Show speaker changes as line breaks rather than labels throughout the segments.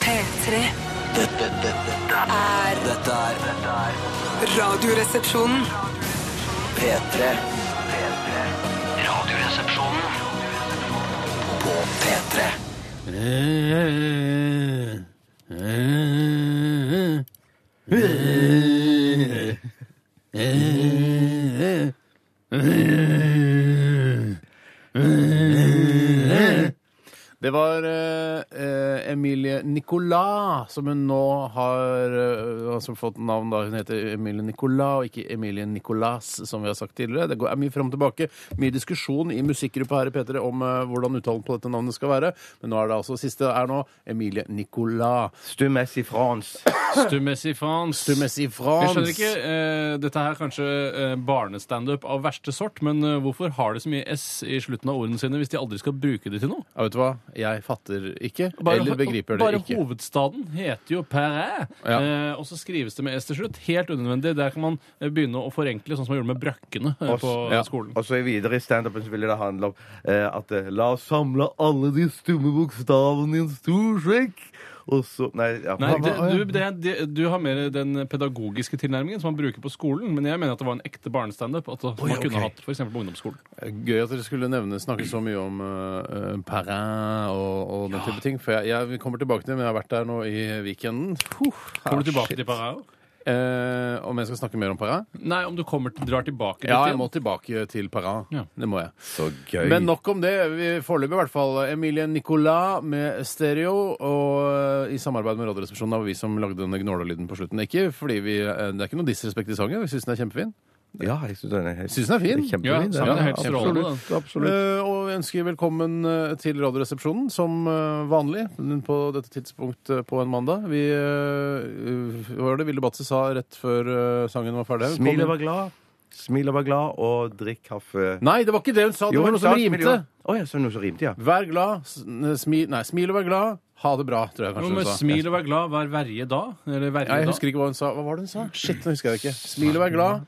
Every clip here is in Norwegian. P3
Dette, dette, dette,
er
dette er dette er
Radioresepsjonen.
P3. P3. Radioresepsjonen på P3.
Det var eh, eh, Emilie Nicolas, som hun nå har eh, altså fått navn da. Hun heter Emilie Nicolas, og ikke Emilie Nicolas, som vi har sagt tidligere. Det går, er mye fram og tilbake. Mye diskusjon i musikkgruppa her i P3 om eh, hvordan uttalen på dette navnet skal være. Men nå er det altså siste er nå Emilie Nicolas.
Stum S i Frans.
Stumessi fans.
Stummes i
Jeg
France.
skjønner ikke. Eh, dette her er kanskje eh, barnestandup av verste sort, men eh, hvorfor har de så mye S i slutten av ordene sine hvis de aldri skal bruke det til noe?
Ja, vet du hva? Jeg fatter ikke, eller begriper det
bare
ikke.
hovedstaden heter jo Perret,
Ja.
eh, og så skrives det med S til slutt. Helt unødvendig. Der kan man eh, begynne å forenkle, sånn som man gjorde med brøkkene eh,
Oss-
på
ja.
skolen.
Og så videre i standupen så ville det handle om eh, at eh, La oss samle alle de stumme bokstavene i en stor sjekk. Og så Nei, ja.
Nei, det,
hva-
du, det, det, du har mer den pedagogiske tilnærmingen som man bruker på skolen, men jeg mener at det var en ekte barnestandup. Altså, som man kunne hatt for eksempel på ungdomsskolen.
Gøy at dere skulle nevne, snakke så mye om uh, Perrin og, og den type ting. For jeg, jeg vi kommer tilbake til det, men jeg har vært der nå i weekenden. Huh,
Kommer du
ah,
tilbake
shit.
til Parao?
Eh, om jeg skal snakke mer om Perrin?
Nei, om du kommer til, drar tilbake dit
Ja,
igjen.
jeg må tilbake til Perrin.
Ja.
Det må jeg.
Så gøy.
Men nok om det. Vi- Foreløpig i hvert fall. eh, Emilie Nicolas med Stereo. Og eh, i samarbeid med Radioresepsjonen det var vi som lagde denne gnålelyden på slutten. Ikke fordi vi, eh, Det er ikke noe disrespekt i sangen. Vi syns den er kjempefin.
Ja, jeg syns den er helt
Synes den er fin.
Ja,
Kjempefin. den.
sangen er helt strålende,
absolutt. absolutt.
Eh, og ønsker velkommen eh, til Radioresepsjonen som eh, vanlig på dette tidspunkt eh, på en mandag. Vi, eh, hva var det Vilde Batse sa rett før eh, sangen var ferdig?
Smil og
Velkommen.
vær glad. Smil og vær glad, og drikk kaffe.
Nei, det var ikke det hun sa! Det var noe som rimte.
Å ja, så noe som rimte, ja.
Vær glad, smil, nei, smil og vær glad. Ha det bra, tror jeg
Jo,
kanskje
men
hun sa.
smil og vær glad, vær verje da. Eller verje
Nei, jeg
da.
husker ikke hva hun sa. Hva var det hun sa? Shit, nå husker jeg det ikke. Smil og vær glad.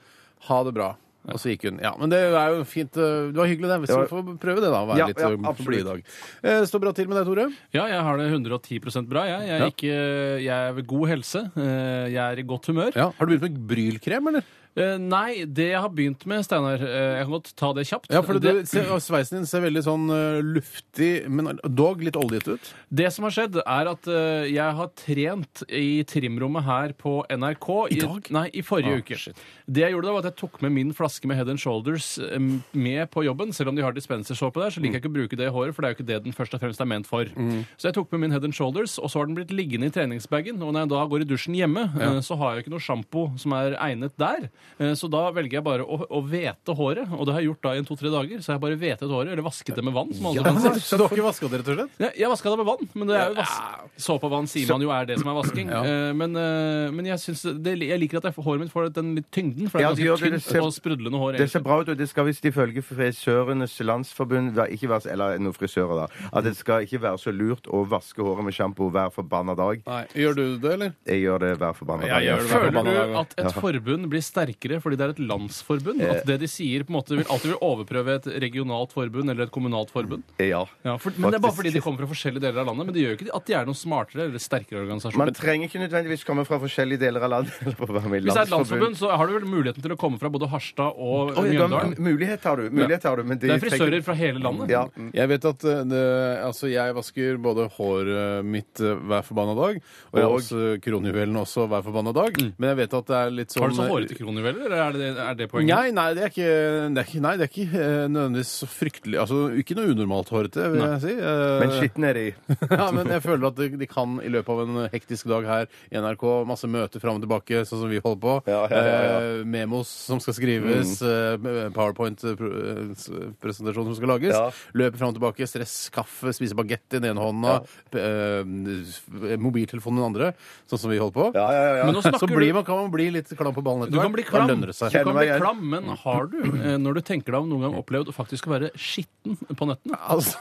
Ha det bra. Og så gikk hun. Ja, Men det er jo fint. eh, Det var hyggelig, det. Så
Ja.
vi får prøve det, da. å Være
Ja,
litt
ja,
eh, blid i
absolutt.
dag. Eh, Det står bra til med deg, Tore.
Ja, jeg har det 110 bra. Jeg, jeg, er
Ja.
ikke, jeg er ved god helse. eh, Jeg er i godt humør.
Ja. Har du begynt med brylkrem, eller?
Eh, Nei, det jeg har begynt med, Steinar eh, Jeg kan godt ta det kjapt.
Ja, for det,
det,
se, og sveisen din ser veldig sånn eh, luftig, men dog litt oljete ut.
det som har skjedd, er at eh, jeg har trent i trimrommet her på NRK. I
dag?
Nei, i forrige
Ah,
uke.
shit.
Det jeg gjorde da, var at jeg tok med min flaske med Head and Shoulders eh, med på jobben. Selv om de har dispensersåpe der, så liker jeg ikke å bruke det i håret, for det er jo ikke det den først og fremst er ment for.
Mm.
Så jeg tok med min Head and Shoulders, og så har den blitt liggende i treningsbagen. Og når jeg da går i dusjen hjemme, eh, så har jeg ikke noe sjampo som er egnet der. Eh, Så da velger jeg bare å, å hvete håret, og det har jeg gjort da i en to-tre dager. Så jeg har bare hvetet håret, eller vasket det med vann. som alle kan si.
Så du har ikke vaska det, rett og slett?
Ja, jeg vaska det med vann, men det er jo vask... såpevann sier man jo er det som er vasking. Eh, Men, eh, men jeg, syns det, jeg liker at jeg, håret mitt får den litt tyngden, for det
Ja,
er
det gjør
ganske
det. Det
tynt
ser-
og sprudlende hår.
Det ser
egentlig.
bra ut, og det skal visst ifølge Frisørenes Landsforbund være- ikke være, Eller noen frisører, da. At det skal ikke være så lurt å vaske håret med sjampo hver forbanna dag.
Nei. Gjør du det, eller?
Jeg gjør det hver forbanna dag.
gjør det hver
Føler
forbanna
du
dag,
at et forbund blir sterkere fordi det er et landsforbund?
Eh.
At det de sier, på en måte vil, alltid vil overprøve et regionalt forbund eller et kommunalt forbund?
Ja.
Ja, for, men Det er bare
Faktisk.
fordi de kommer fra forskjellige deler av landet. Men det gjør jo ikke at de er noen smartere eller sterkere organisasjon.
Man trenger ikke nødvendigvis komme fra forskjellige deler av landet. Eller for å være med i
Hvis det er et landsforbund, så har du vel muligheten til å komme fra både Harstad og
Oi, da,
Mjøndalen.
mulighet har du. Mulighet har du men
Det er frisører fra hele landet.
Ja.
Jeg vet at eh, det, altså jeg vasker både håret mitt eh, hver forbanna dag, og Mm. jeg har
Og-
også kronjuvelene også hver forbanna dag, men jeg vet at det er litt sånn
Har du så hårete kronjuveler, eller er det, er det poenget?
Nei, nei, det er ikke, det er ikke, nei, det er ikke eh, nødvendigvis så fryktelig Altså, ikke noe unormalt hårete, vil jeg si. Eh,
Men skitten er de.
ja, men jeg føler at de, de kan i løpet av en hektisk dag her i NRK, masse møter fram og tilbake, sånn som vi holder på,
Ja, ja, ja, Mm. ja.
Eh, memos som skal skrives, eh, PowerPoint-presentasjon som skal lages,
Ja.
løper fram og tilbake, stress, kaffe, spise bagett i den ene hånda, p- eh, mobiltelefonen i den andre, sånn som vi holder på.
Ja, ja, ja, ja.
Men nå snakker
Så blir man, kan man bli litt klam på ballen etter
Du
hvert.
kan bli
Da
klam,
lønner det
du
seg.
kan
Kjenner meg
bli
igjen.
klam men har du, eh, når du tenker deg om, noen gang opplevd å faktisk å være skitten på nettene?
Altså,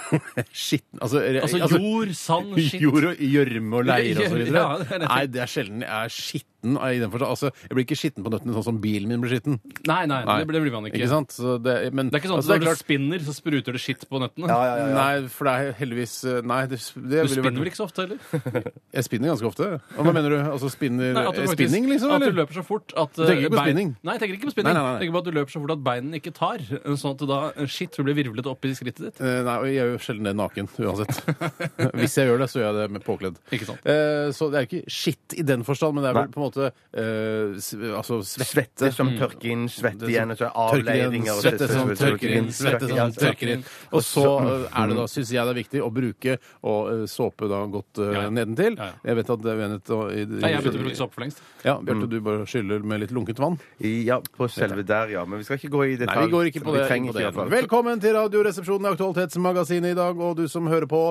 skitten altså, re-
Altså
altså,
jord, sand, skitt.
Jord og gjørme og leir og så videre.
Ja, det er det.
Nei, det er sjelden jeg er skitten. skitten. eh, I den forstand. Altså, jeg blir ikke skitten på nøttene sånn som bilen min blir skitten.
Nei, nei,
Nei.
Det, blir- det blir man ikke.
Ikke sant? Så det, men,
Det er ikke sånn at
altså, det er
når
klart-
du spinner, så spruter det skitt på nøttene.
Nei, for det er heldigvis eh, Nei, det, det
Du
ville
spinner vel
vært
ikke så ofte heller?
Jeg spinner ganske ofte. Og hva mener du? Altså spinner
Nei, at du
eh,
faktisk-
Spinning, liksom?
At du
Eller?
løper så fort at eh,
tenker ikke på
bein-
spinning?
Nei, jeg tenker ikke på
Nei,
spinning.
nei, nei.
Jeg tenker på at du løper så fort at beinene ikke tar. Sånn at da eh, skitt blir virvlet opp i skrittet ditt.
Eh, Nei, og jeg gjør jo sjelden det naken, uansett. Hvis jeg gjør det, så gjør jeg det med påkledd.
Ikke sant.
Eh, Så det er ikke skitt i den forstand, men det er vel
Nei.
på en måte eh, s- altså svette.
Svette som tørker inn, svette igjen, og så
Tørker inn,
avleiringer og
svette
så-
som
så- så-
tørker inn, svette
ja,
som tørker inn. Og så eh, er det da, syns jeg det er viktig, å bruke og eh, såpe da godt eh,
Ja, ja.
nedentil.
Ja, ja.
Jeg vet at det er venet og i-
Nei, jeg begynte å bruke sopp for lengst.
Ja, Bjarte, du bare skyller med litt lunket vann.
Ja, på selve der, ja. Men vi skal ikke gå i detalj.
Nei, vi går ikke på
Vi
det. på
trenger ikke i
det.
hvert fall.
Velkommen til Radioresepsjonen i Aktualitetsmagasinet i dag. Og du som hører på,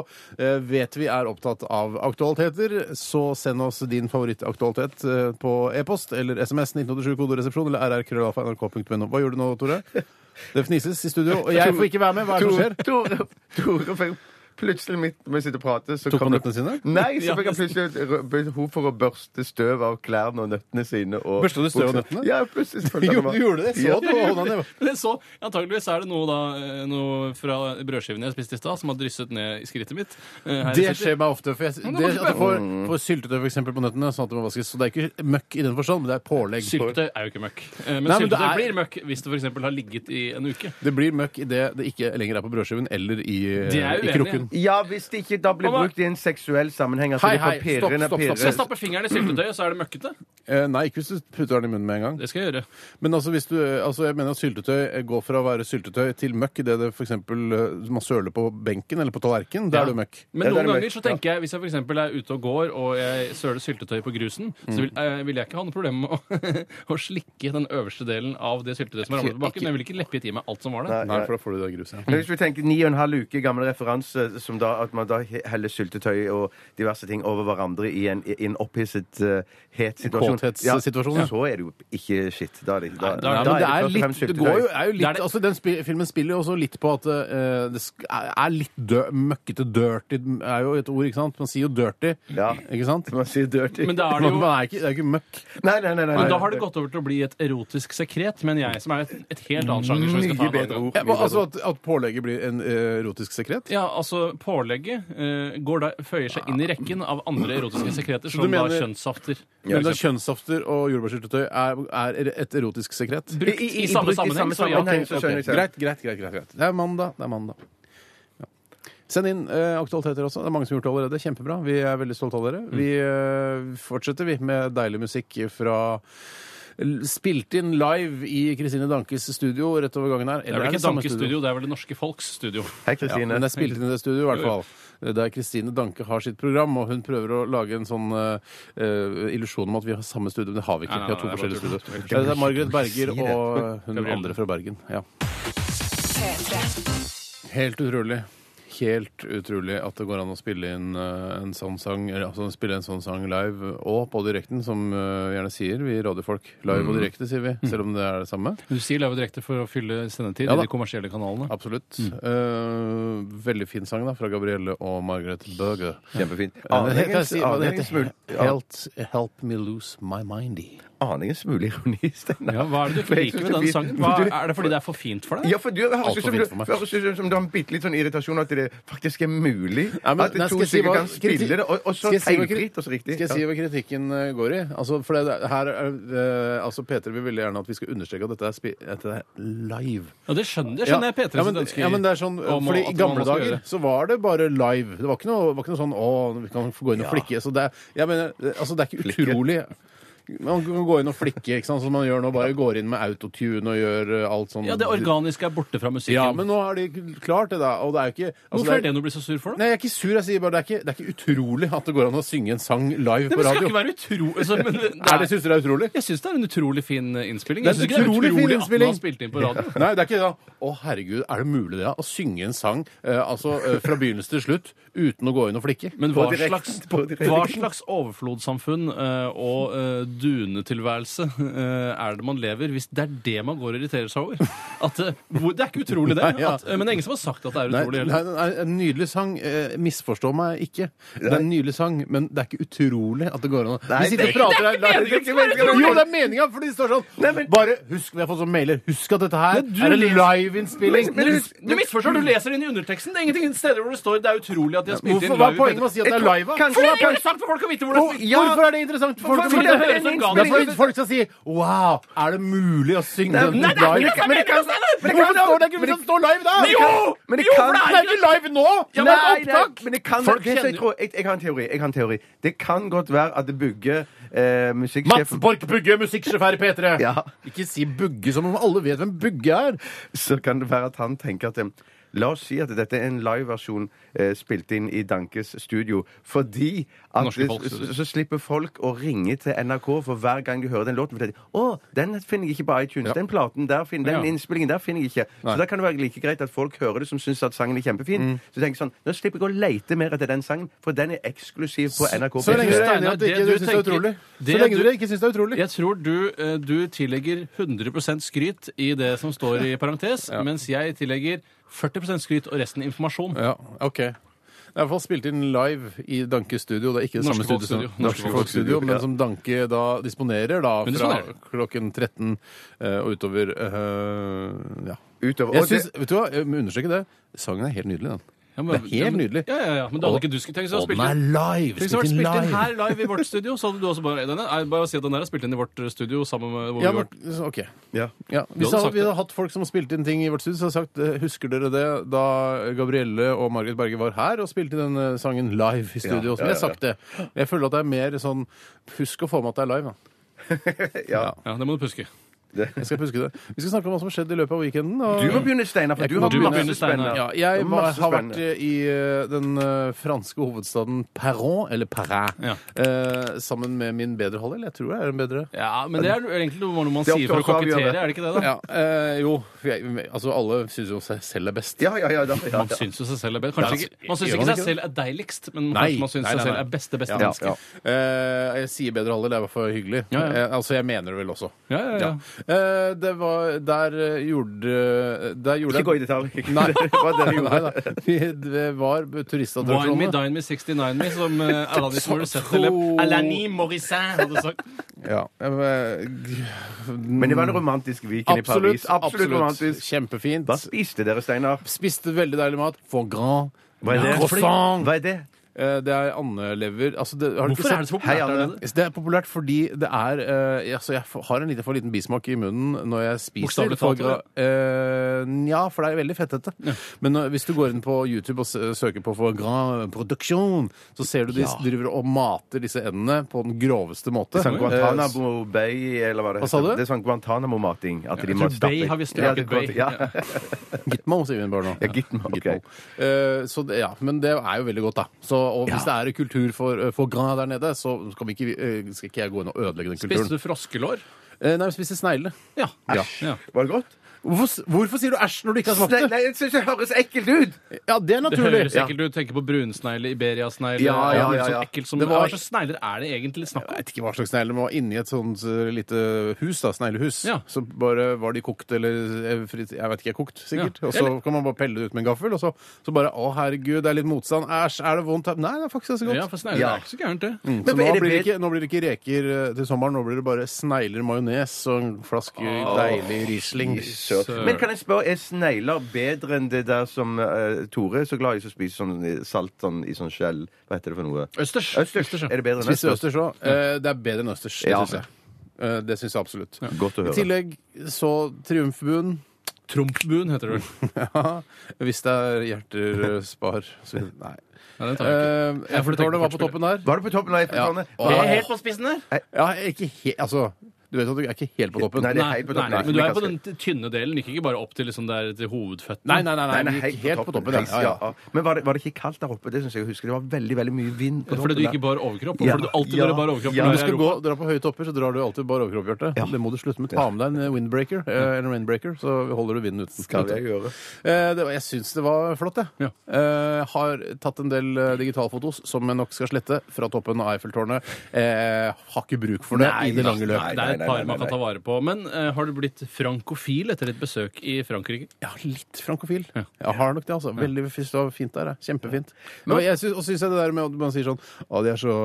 eh, vet vi er opptatt av aktualiteter, så send oss din favorittaktualitet eh, på e-post eller SMS 1987 kodoresepsjon eller rrkrøllalfa.nrk.no. Hva gjør du nå, Tore? Det fnises i studio, og jeg får ikke være med. Hva er det som skjer?
Tore, Tore fikk plutselig midt mens vi sitter og prater så
Tok
kom
han
det-
nøttene sine?
Nei, så fikk han plutselig et rø- behov for å børste støv av klærne og nøttene sine. Og
Børsta du støv av nøttene?
Ja, plutselig. så følte han
Jo,
var-
du gjorde det. Så
Ja.
du hånda ned.
Men jeg så, antageligvis er det noe, da, eh, noe fra brødskivene jeg spiste i stad, som har drysset ned i skrittet mitt. eh, her jeg
Det
sitter.
skjer meg ofte. For jeg,
Men
det,
det var
at du får, får syltetøy for eksempel, på nøttene, sånn at det må vaskes. Så det er ikke møkk i den forstand, men det er pålegg.
Syltetøy er jo ikke møkk. Eh, Men
Nei, men det
syltetøy
er-
blir møkk hvis det f.eks. har ligget i en uke.
Det blir møkk i det det ikke lenger er på brødskiven eller i, eh,
Det er
i
uenig.
krukken.
Ja, hvis det ikke da blir
Mamma.
brukt i en seksuell sammenheng. At
Hei,
det
hei,
papirene
stopp, stopp, stopp,
Hvis jeg
pirrer-
stopp.
stapper fingeren i syltetøyet, så er det møkkete.
Eh, nei, ikke hvis du putter den i munnen med en gang.
Det skal jeg gjøre.
Men altså, hvis du, altså, jeg mener at syltetøy går fra å være syltetøy til møkk idet det f.eks. man søler på benken eller på tallerkenen. Da
Ja.
er du møkk.
Men
Ja, det er
noen
mørkt,
ganger så tenker jeg, hvis jeg for eksempel er ute og går og jeg søler syltetøy på grusen, så vil, eh, vil jeg ikke ha noe problem med å, å slikke den øverste delen av det syltetøyet som har ramlet på bakken. Men jeg vil ikke leppet i meg alt som var der.
Nei, for da får du det gruset.
Men hvis vi tenker ni og en halv uke gammel referanse, som da at man da heller syltetøy og diverse ting over hverandre i en, i en opphisset eh, het situasjon
Kåthetssituasjon, ja.
Så er det jo ikke shit. Da er det, da,
da-
Ja, men
Da
det
først
er
og
litt,
fremst
det
syltetøy.
går jo, er jo litt
Det er det-
altså Den spi filmen spiller jo også litt på at eh, det sk- er litt dø møkkete. Dirty er jo et ord, ikke sant? Man sier jo dirty.
Ja.
Ikke sant?
Man sier dirty.
Men da er det
Men
jo
man er ikke, det er jo ikke møkk.
Nei, nei, nei, nei,
men
nei.
da har det gått over til å bli et erotisk sekret, mener jeg, som er et, et helt annet sjanger. som vi skal ta
Mye
en annen
bedre
gang.
ord.
Ja, men altså at, at pålegget blir en eh, erotisk sekret?
Ja, altså Pålegget eh, går da, føyer seg inn i rekken av andre erotiske sekreter, som
mener-
da kjønnssafter.
Men da kjønnssafter og jordbærsyltetøy er, er et erotisk sekret?
Brukt i, samme sammenheng, så ja.
sammenheng, så skjønner jeg selv.
Greit, greit, greit, greit, greit. Det er mandag. det er mandag. Ja. Send inn eh, aktualiteter også. Det er mange som har gjort det allerede. Kjempebra. Vi er veldig stolte av dere. Vi
Mm.
eh, fortsetter vi med deilig musikk fra l- Spilt inn live i Kristine Dankes studio rett over gangen her.
Det er vel ikke Dankes studio, det er vel det norske folks studio.
Hei,
Ja,
Kristine.
men det er spilt inn i det studio, i hvert fall. Der Kristine Danke har sitt program, og hun prøver å lage en sånn eh, eh, illusjon om at vi har samme studio, men det har vi ikke.
Nei, nei,
vi har to
nei, det er
forskjellige
bare
studio. Det er Margaret Berger
Si det.
og hun
Gabrielle.
andre fra Bergen. Ja.
P3.
Helt utrolig. Helt utrolig at det går an å spille inn eh, en sånn sang eller, altså, spille en sånn sang live og på direkten, som eh, vi gjerne sier, vi radiofolk. Live og direkte, sier vi, selv om det er det samme.
Du sier live og direkte for å fylle sendetid
Ja
i
da.
de kommersielle kanalene.
Absolutt. Eh, veldig fin sang da, fra Gabrielle og Margaret Berger.
Kjempefint.
Aningens,
Aningens,
aningens
aningens, mul-
mul- Helt, help me lose my mindy.
aningens mulig ironi, Steinar.
Ja, hva er det du
For
ikke
jeg
liker
synes
med
vi-
den sangen? Hva,
Du-
er det fordi det er for fint for deg?
Ja, for du høres
for
ut som,
fint for meg.
du- høres ut som du har en bitte litt sånn irritasjon at det faktisk er mulig
Nei, men-
at
nei, skal
to
jeg si
stykker
hva-
kan spille
kriti-
det, og, og så
Skal jeg si hva kri-
feilfritt og så riktig.
Skal jeg si hva kritikken eh, går i? Altså, for det, det- her er, eh, altså Peter vil veldig gjerne at vi skal understreke at dette er, spi- at dette er live.
Ja, det skjønner, det skjønner jeg P3
ja,
sitt
men,
ønske.
ja, men det er sånn,
om
fordi I
at man
gamle
skal
dager
gjøre.
så var det bare live. Det var ikke noe, var ikke noe sånn å, vi kan få gå inn og flikke. Så det, er- jeg mener, det- altså, det er ikke
Flikke.
utrolig. Man kan gå inn og flikke, ikke sant, som man gjør nå. Bare går inn med autotune og gjør eh, alt sånn.
Ja, det organiske er borte fra musikken.
Ja, men nå har de klart det, da. Og det er jo ikke altså,
Hvorfor er det noe å bli så sur for, da?
Nei, jeg er ikke sur. Jeg sier bare det er ikke, det er ikke utrolig at det går an å synge en sang live
Det
på
skal
radio.
ikke være utro... Altså, men det,
Er det, Syns du det er utrolig?
Jeg syns det er en utrolig fin innspilling.
Det er
Jeg synes ikke det er
utrolig fin
utrolig at den
innspilling.
har spilt inn på radio.
Nei, det er ikke det. da. Å, herregud, er det mulig det? da? Å synge en sang eh, altså, eh, fra begynnelse til slutt uten å gå inn og flikke?
Men hva
direkten,
slags,
på direkten.
hva slags overflodssamfunn eh, og eh, dunetilværelse eh, er det man lever, hvis det er det man går og irriterer seg over? At, eh, hvor, det er ikke utrolig, det.
Nei, ja.
At, eh, men det er ingen som har sagt at det er
Nei,
utrolig.
nei,
heller.
nei, nei, en nydelig sang. Eh, misforstå meg ikke. Det er en nydelig sang, men det er ikke utrolig at det går an å
Nei,
Vi sitter
det
og
er
prater her
meningen
det er ikke
at det skal være
meningen. Jo, det er
utrolig.
meninga! For de står sånn Bare husk, vi har fått sånn mailer. Husk at dette her er en liveinnspilling.
Du, du misforstår,
Mm.
du leser inn i underteksten. Det er ingenting steder hvor det står det er utrolig at de har spilt inn
Hvorfor var
live. i
poenget med å si at det er
Jeg tror-
live? da?
kanskje-
For det er interessant for folk å vite hvor det
Hvor-
er spilt.
Hvorfor er det interessant for folk å
Hvorfor-
vite?
fordi det høres en gang-
Det er fordi folk skal si Wow, er det mulig å synge
Nei,
den
nei,
det er
live?
ikke det som er
Men det kan-
meningen, Steinar!
Hvorfor står det ikke hvis den står live da?
Jo!
Men det
jo, for
kan-
Det er jo ikke live nå!
Ja,
Det er
men-
Nei,
opptak!
nei, men det kan,
Folk
det, som jeg,
kjenner-
tror, jeg, jeg har en teori. Jeg har en teori. Det kan godt være at det bygger eh,
Mats
musikksjefen
Borch Bugge, musikksjef her i P3.
Ja.
Ikke si Bugge som om alle vet hvem Bugge er.
Så kan det være at han tenker at eh, La oss si at dette er en liveversjon eh, spilt inn i Dankes studio. Fordi at
Norske folk,
det,
så-
så, så slipper folk å ringe til NRK for hver gang de hører den låten. For de tenker, å, den finner jeg ikke på iTunes. Den platen der finner, den
Ja.
innspillingen der finner jeg ikke. Så da kan det være like greit at folk hører det som syns at sangen er kjempefin.
Mm.
Så de tenker sånn Nå slipper jeg å leite mer etter den sangen, for den er eksklusiv på NRK.
Så lenge du
P3.
er enig i at du
det
ikke
du
syns det er
tenker-
utrolig. Så
det
lenge
du-
dere ikke syns det er utrolig.
Jeg tror du, eh, du tillegger 100 skryt i det som står i parentes, mens jeg tillegger 40 skryt og resten informasjon.
Ja, ok. Det er i hvert fall spilt inn live i Dankes studio. Det er ikke det
Norske
samme studio som
Folkstudio. Norske
Norske Folkstudio,
Folkstudio,
men som Danke da disponerer da
Men
fra
disponerer.
klokken 13 eh, og utover eh, Ja.
Utover.
Jeg
og det-
synes, vet du hva, jeg må understreke det. Sangen er helt nydelig, den.
Ja, men-
Det er helt nydelig.
Ja, ja, ja, Men da hadde ikke du skulle tenkt deg å
Og den
spille
er
inn.
live!
Tenk hvis det
Spilt
hadde vært
inn
spilt inn
live.
her live i vårt studio, så hadde du også bare denne, er- Bare å si at den der er spilt inn i vårt eh, studio sammen med hvor
Ja,
vi var.
men, så- ok.
ja.
Ja,
Du
hvis
hadde
hadde,
sagt
vi
det.
hadde hatt folk som spilte inn ting i vårt studio, så hadde jeg sagt eh, Husker dere det da Gabrielle og Margaret Berge var her og spilte inn den eh, sangen live i studio?
ja,
som
ja,
jeg har sagt det. Jeg føler at det er mer sånn Husk å få med at det er live, da.
Ja, det må du huske.
Jeg skal huske det. Vi skal snakke om hva som har skjedd i løpet av weekenden. Og...
Du må begynne, Steinar, for
Jeg
du
kan
har
godt begynne,
masse
Steinar.
spennende.
Ja, jeg
Det er
var,
masse
har vært
spennende.
eh, i eh, den eh, franske hovedstaden Perron, eller Perrin,
Ja.
eh, sammen med min bedre halvdel. Jeg tror jeg er en bedre.
Ja, Men det er egentlig noe man
Det er
sier for å
opp til oss å avgjøre.
kokettere, er det ikke det? da?
Ja, eh, jo, jeg, altså alle syns jo seg selv er best.
Ja, ja, ja, da- ja,
Man
ja.
syns jo seg selv er best. Kanskje
Ja, altså,
ikke, man syns
gjør
ikke
man
seg
ikke
selv er deiligst, men
Nei,
kanskje man syns
nei,
seg
nei,
selv
nei.
er beste, beste
Ja,
menneske.
ja.
Eh, jeg sier bedre halvdel, det er i hvert fall hyggelig.
Ja, ja.
Eh, altså, jeg mener det vel også.
Ja, ja, ja.
Eh, det var Der eh, gjorde Der gjorde
Ikke gå i
jeg
detalj.
Nei.
Det var det du
Nei
gjorde.
da. Vi, det var
Wine me,
turistattraksjonene.
dine me, 69 me, som eh, Alanis Morissette
to-
eller Alani Morissin hadde sagt.
Ja, eh, g-
Men det var en romantisk weekend i
absolutt.
Paris. Absolutt romantisk.
Kjempefint.
Hva spiste dere, Steinar?
Spiste veldig deilig mat. Foie gras.
Hva er det?
Croissant.
Hva er det?
Eh, Det er andelever altså, det, har du ikke
Hvorfor er det
sett-
så
Hei,
populært der
Anne.
nede?
Det er populært fordi det er eh, altså Jeg f- har en liten, for liten bismak i munnen når jeg spiser.
Bokstavelig
Foie
talt,
gras. Eh, Nja, for det er veldig fettete. Men når, hvis du går inn på YouTube og s- søker på foie gras production, så ser du de s- driver og mater disse endene på den groveste måte.
Sånn
Eh,
Guantánamo Bay, eller hva det
Hva sa du?
Det er sånn Guantánamo-mating. At de
Jeg
må
tror
stappe
Bay har vi
Ja, det
strøket
er
Bay.
godt- Ja.
s- Gitmo, sier vi bare nå.
Ja, Gitmo, ok.
Eh, så det, ja, men det er jo veldig godt, da. Så, og hvis det er kultur for eh, foie gras der nede, så skal, vi ikke, eh, skal ikke jeg gå inn og ødelegge den kulturen.
Spiste du froskelår?
Eh, nei, vi spiser snegle.
Ja.
Ja.
ja.
Var det godt?
Hvorfor, s- hvorfor sier du æsj når du ikke har smakt
Nei,
det?
nei, jeg syns det høres ekkelt ut!
Ja, det er
Det
naturlig.
høres ekkelt ut. Tenker på brunsnegle, iberiasnegle
Ja, ja,
alt mulig
ja, ja.
sånn ekkelt som,
Det var-
Hva slags snegler er det egentlig snakk
Jeg
om?
vet ikke hva slags snegle, men var inni et sånt eh, lite hus, da, sneglehus.
Ja.
Så bare var de kokt eller eh, frit- Jeg vet ikke, kokt, sikkert.
Ja.
Og så kan man bare pelle det ut med en gaffel, og så, så bare Å, herregud, det er litt motstand. Æsj, er det vondt? Nei, det er faktisk ganske godt.
Ja, for snegler
Ja.
er
Mm.
ikke så gærent, det.
Så nå
Men er det
blir, det
bedre-
ikke, nå blir det ikke reker eh, til sommeren, nå blir det bare snegler, majones og en flaske deilig Riesling.
Søt. Men kan jeg spørre, er snegler bedre enn det der som eh, Tore er så glad i som spiser sånn i- salt sånn, i sånn skjell? Hva heter det for noe?
Østers.
Østers.
ja.
Er det bedre enn
Spise
østers?
østers òg. Eh, Det er bedre enn østers, det
Ja.
syns jeg. Eh, Det syns jeg absolutt.
Godt å
I
høre.
tillegg så triumfbuen.
Trumpbuen heter det vel.
Ja, hvis det er hjerter eh, spar så, Nei.
Ja, den tar jeg ikke.
Eh,
Uh,
Ja, for du tenker
Effertårnet var
på
på toppen der.
Var du på toppen av Eiffeltårnet?
Ja.
Er jeg helt på spissen der?
Ja, ikke helt Altså, Du vet at du er ikke helt på toppen?
Nei, det er helt på toppen.
men du er på den t- tynne delen, ikke ikke bare opp til, liksom der, til hovedføttene.
Nei, nei, nei, nei,
Nei, nei,
vi gikk helt på toppen.
Helt-
ja, ja.
ja. Men var det, var det ikke kaldt der oppe? Det synes jeg jeg husker. Det var veldig veldig mye vind. på
Fordi
toppen
du
der.
ikke bar overkropp? og
Ja.
Fordi du alltid
Ja.
bare bar overkropp?
Ja.
når
Når du
jeg
skal
er i
gå,
Europa.
dra på høye topper, så drar du alltid bare overkropp, Bjarte. Det må du slutte med. Ta med deg en windbreaker eh, eller en rainbreaker, så holder du vinden uten.
Skal jeg gjøre.
Eh, det var, jeg syns det var flott, jeg.
Ja.
Eh, har tatt en del eh, digitalfotos som jeg nok skal slette fra toppen av Eiffeltårnet. Eh, har ikke bruk for det i det lange løp.
Nei, det er et
nei,
par
nei,
man
nei,
kan ta vare på. Men eh, har du blitt frankofil etter et besøk i Frankrike?
Jeg har litt frankofil.
Ja.
Jeg har nok det, altså. Veldig fint, det var fint der. jeg. Kjempefint. Men jeg syns, og syns jeg det der med at man sier sånn Å, de er så,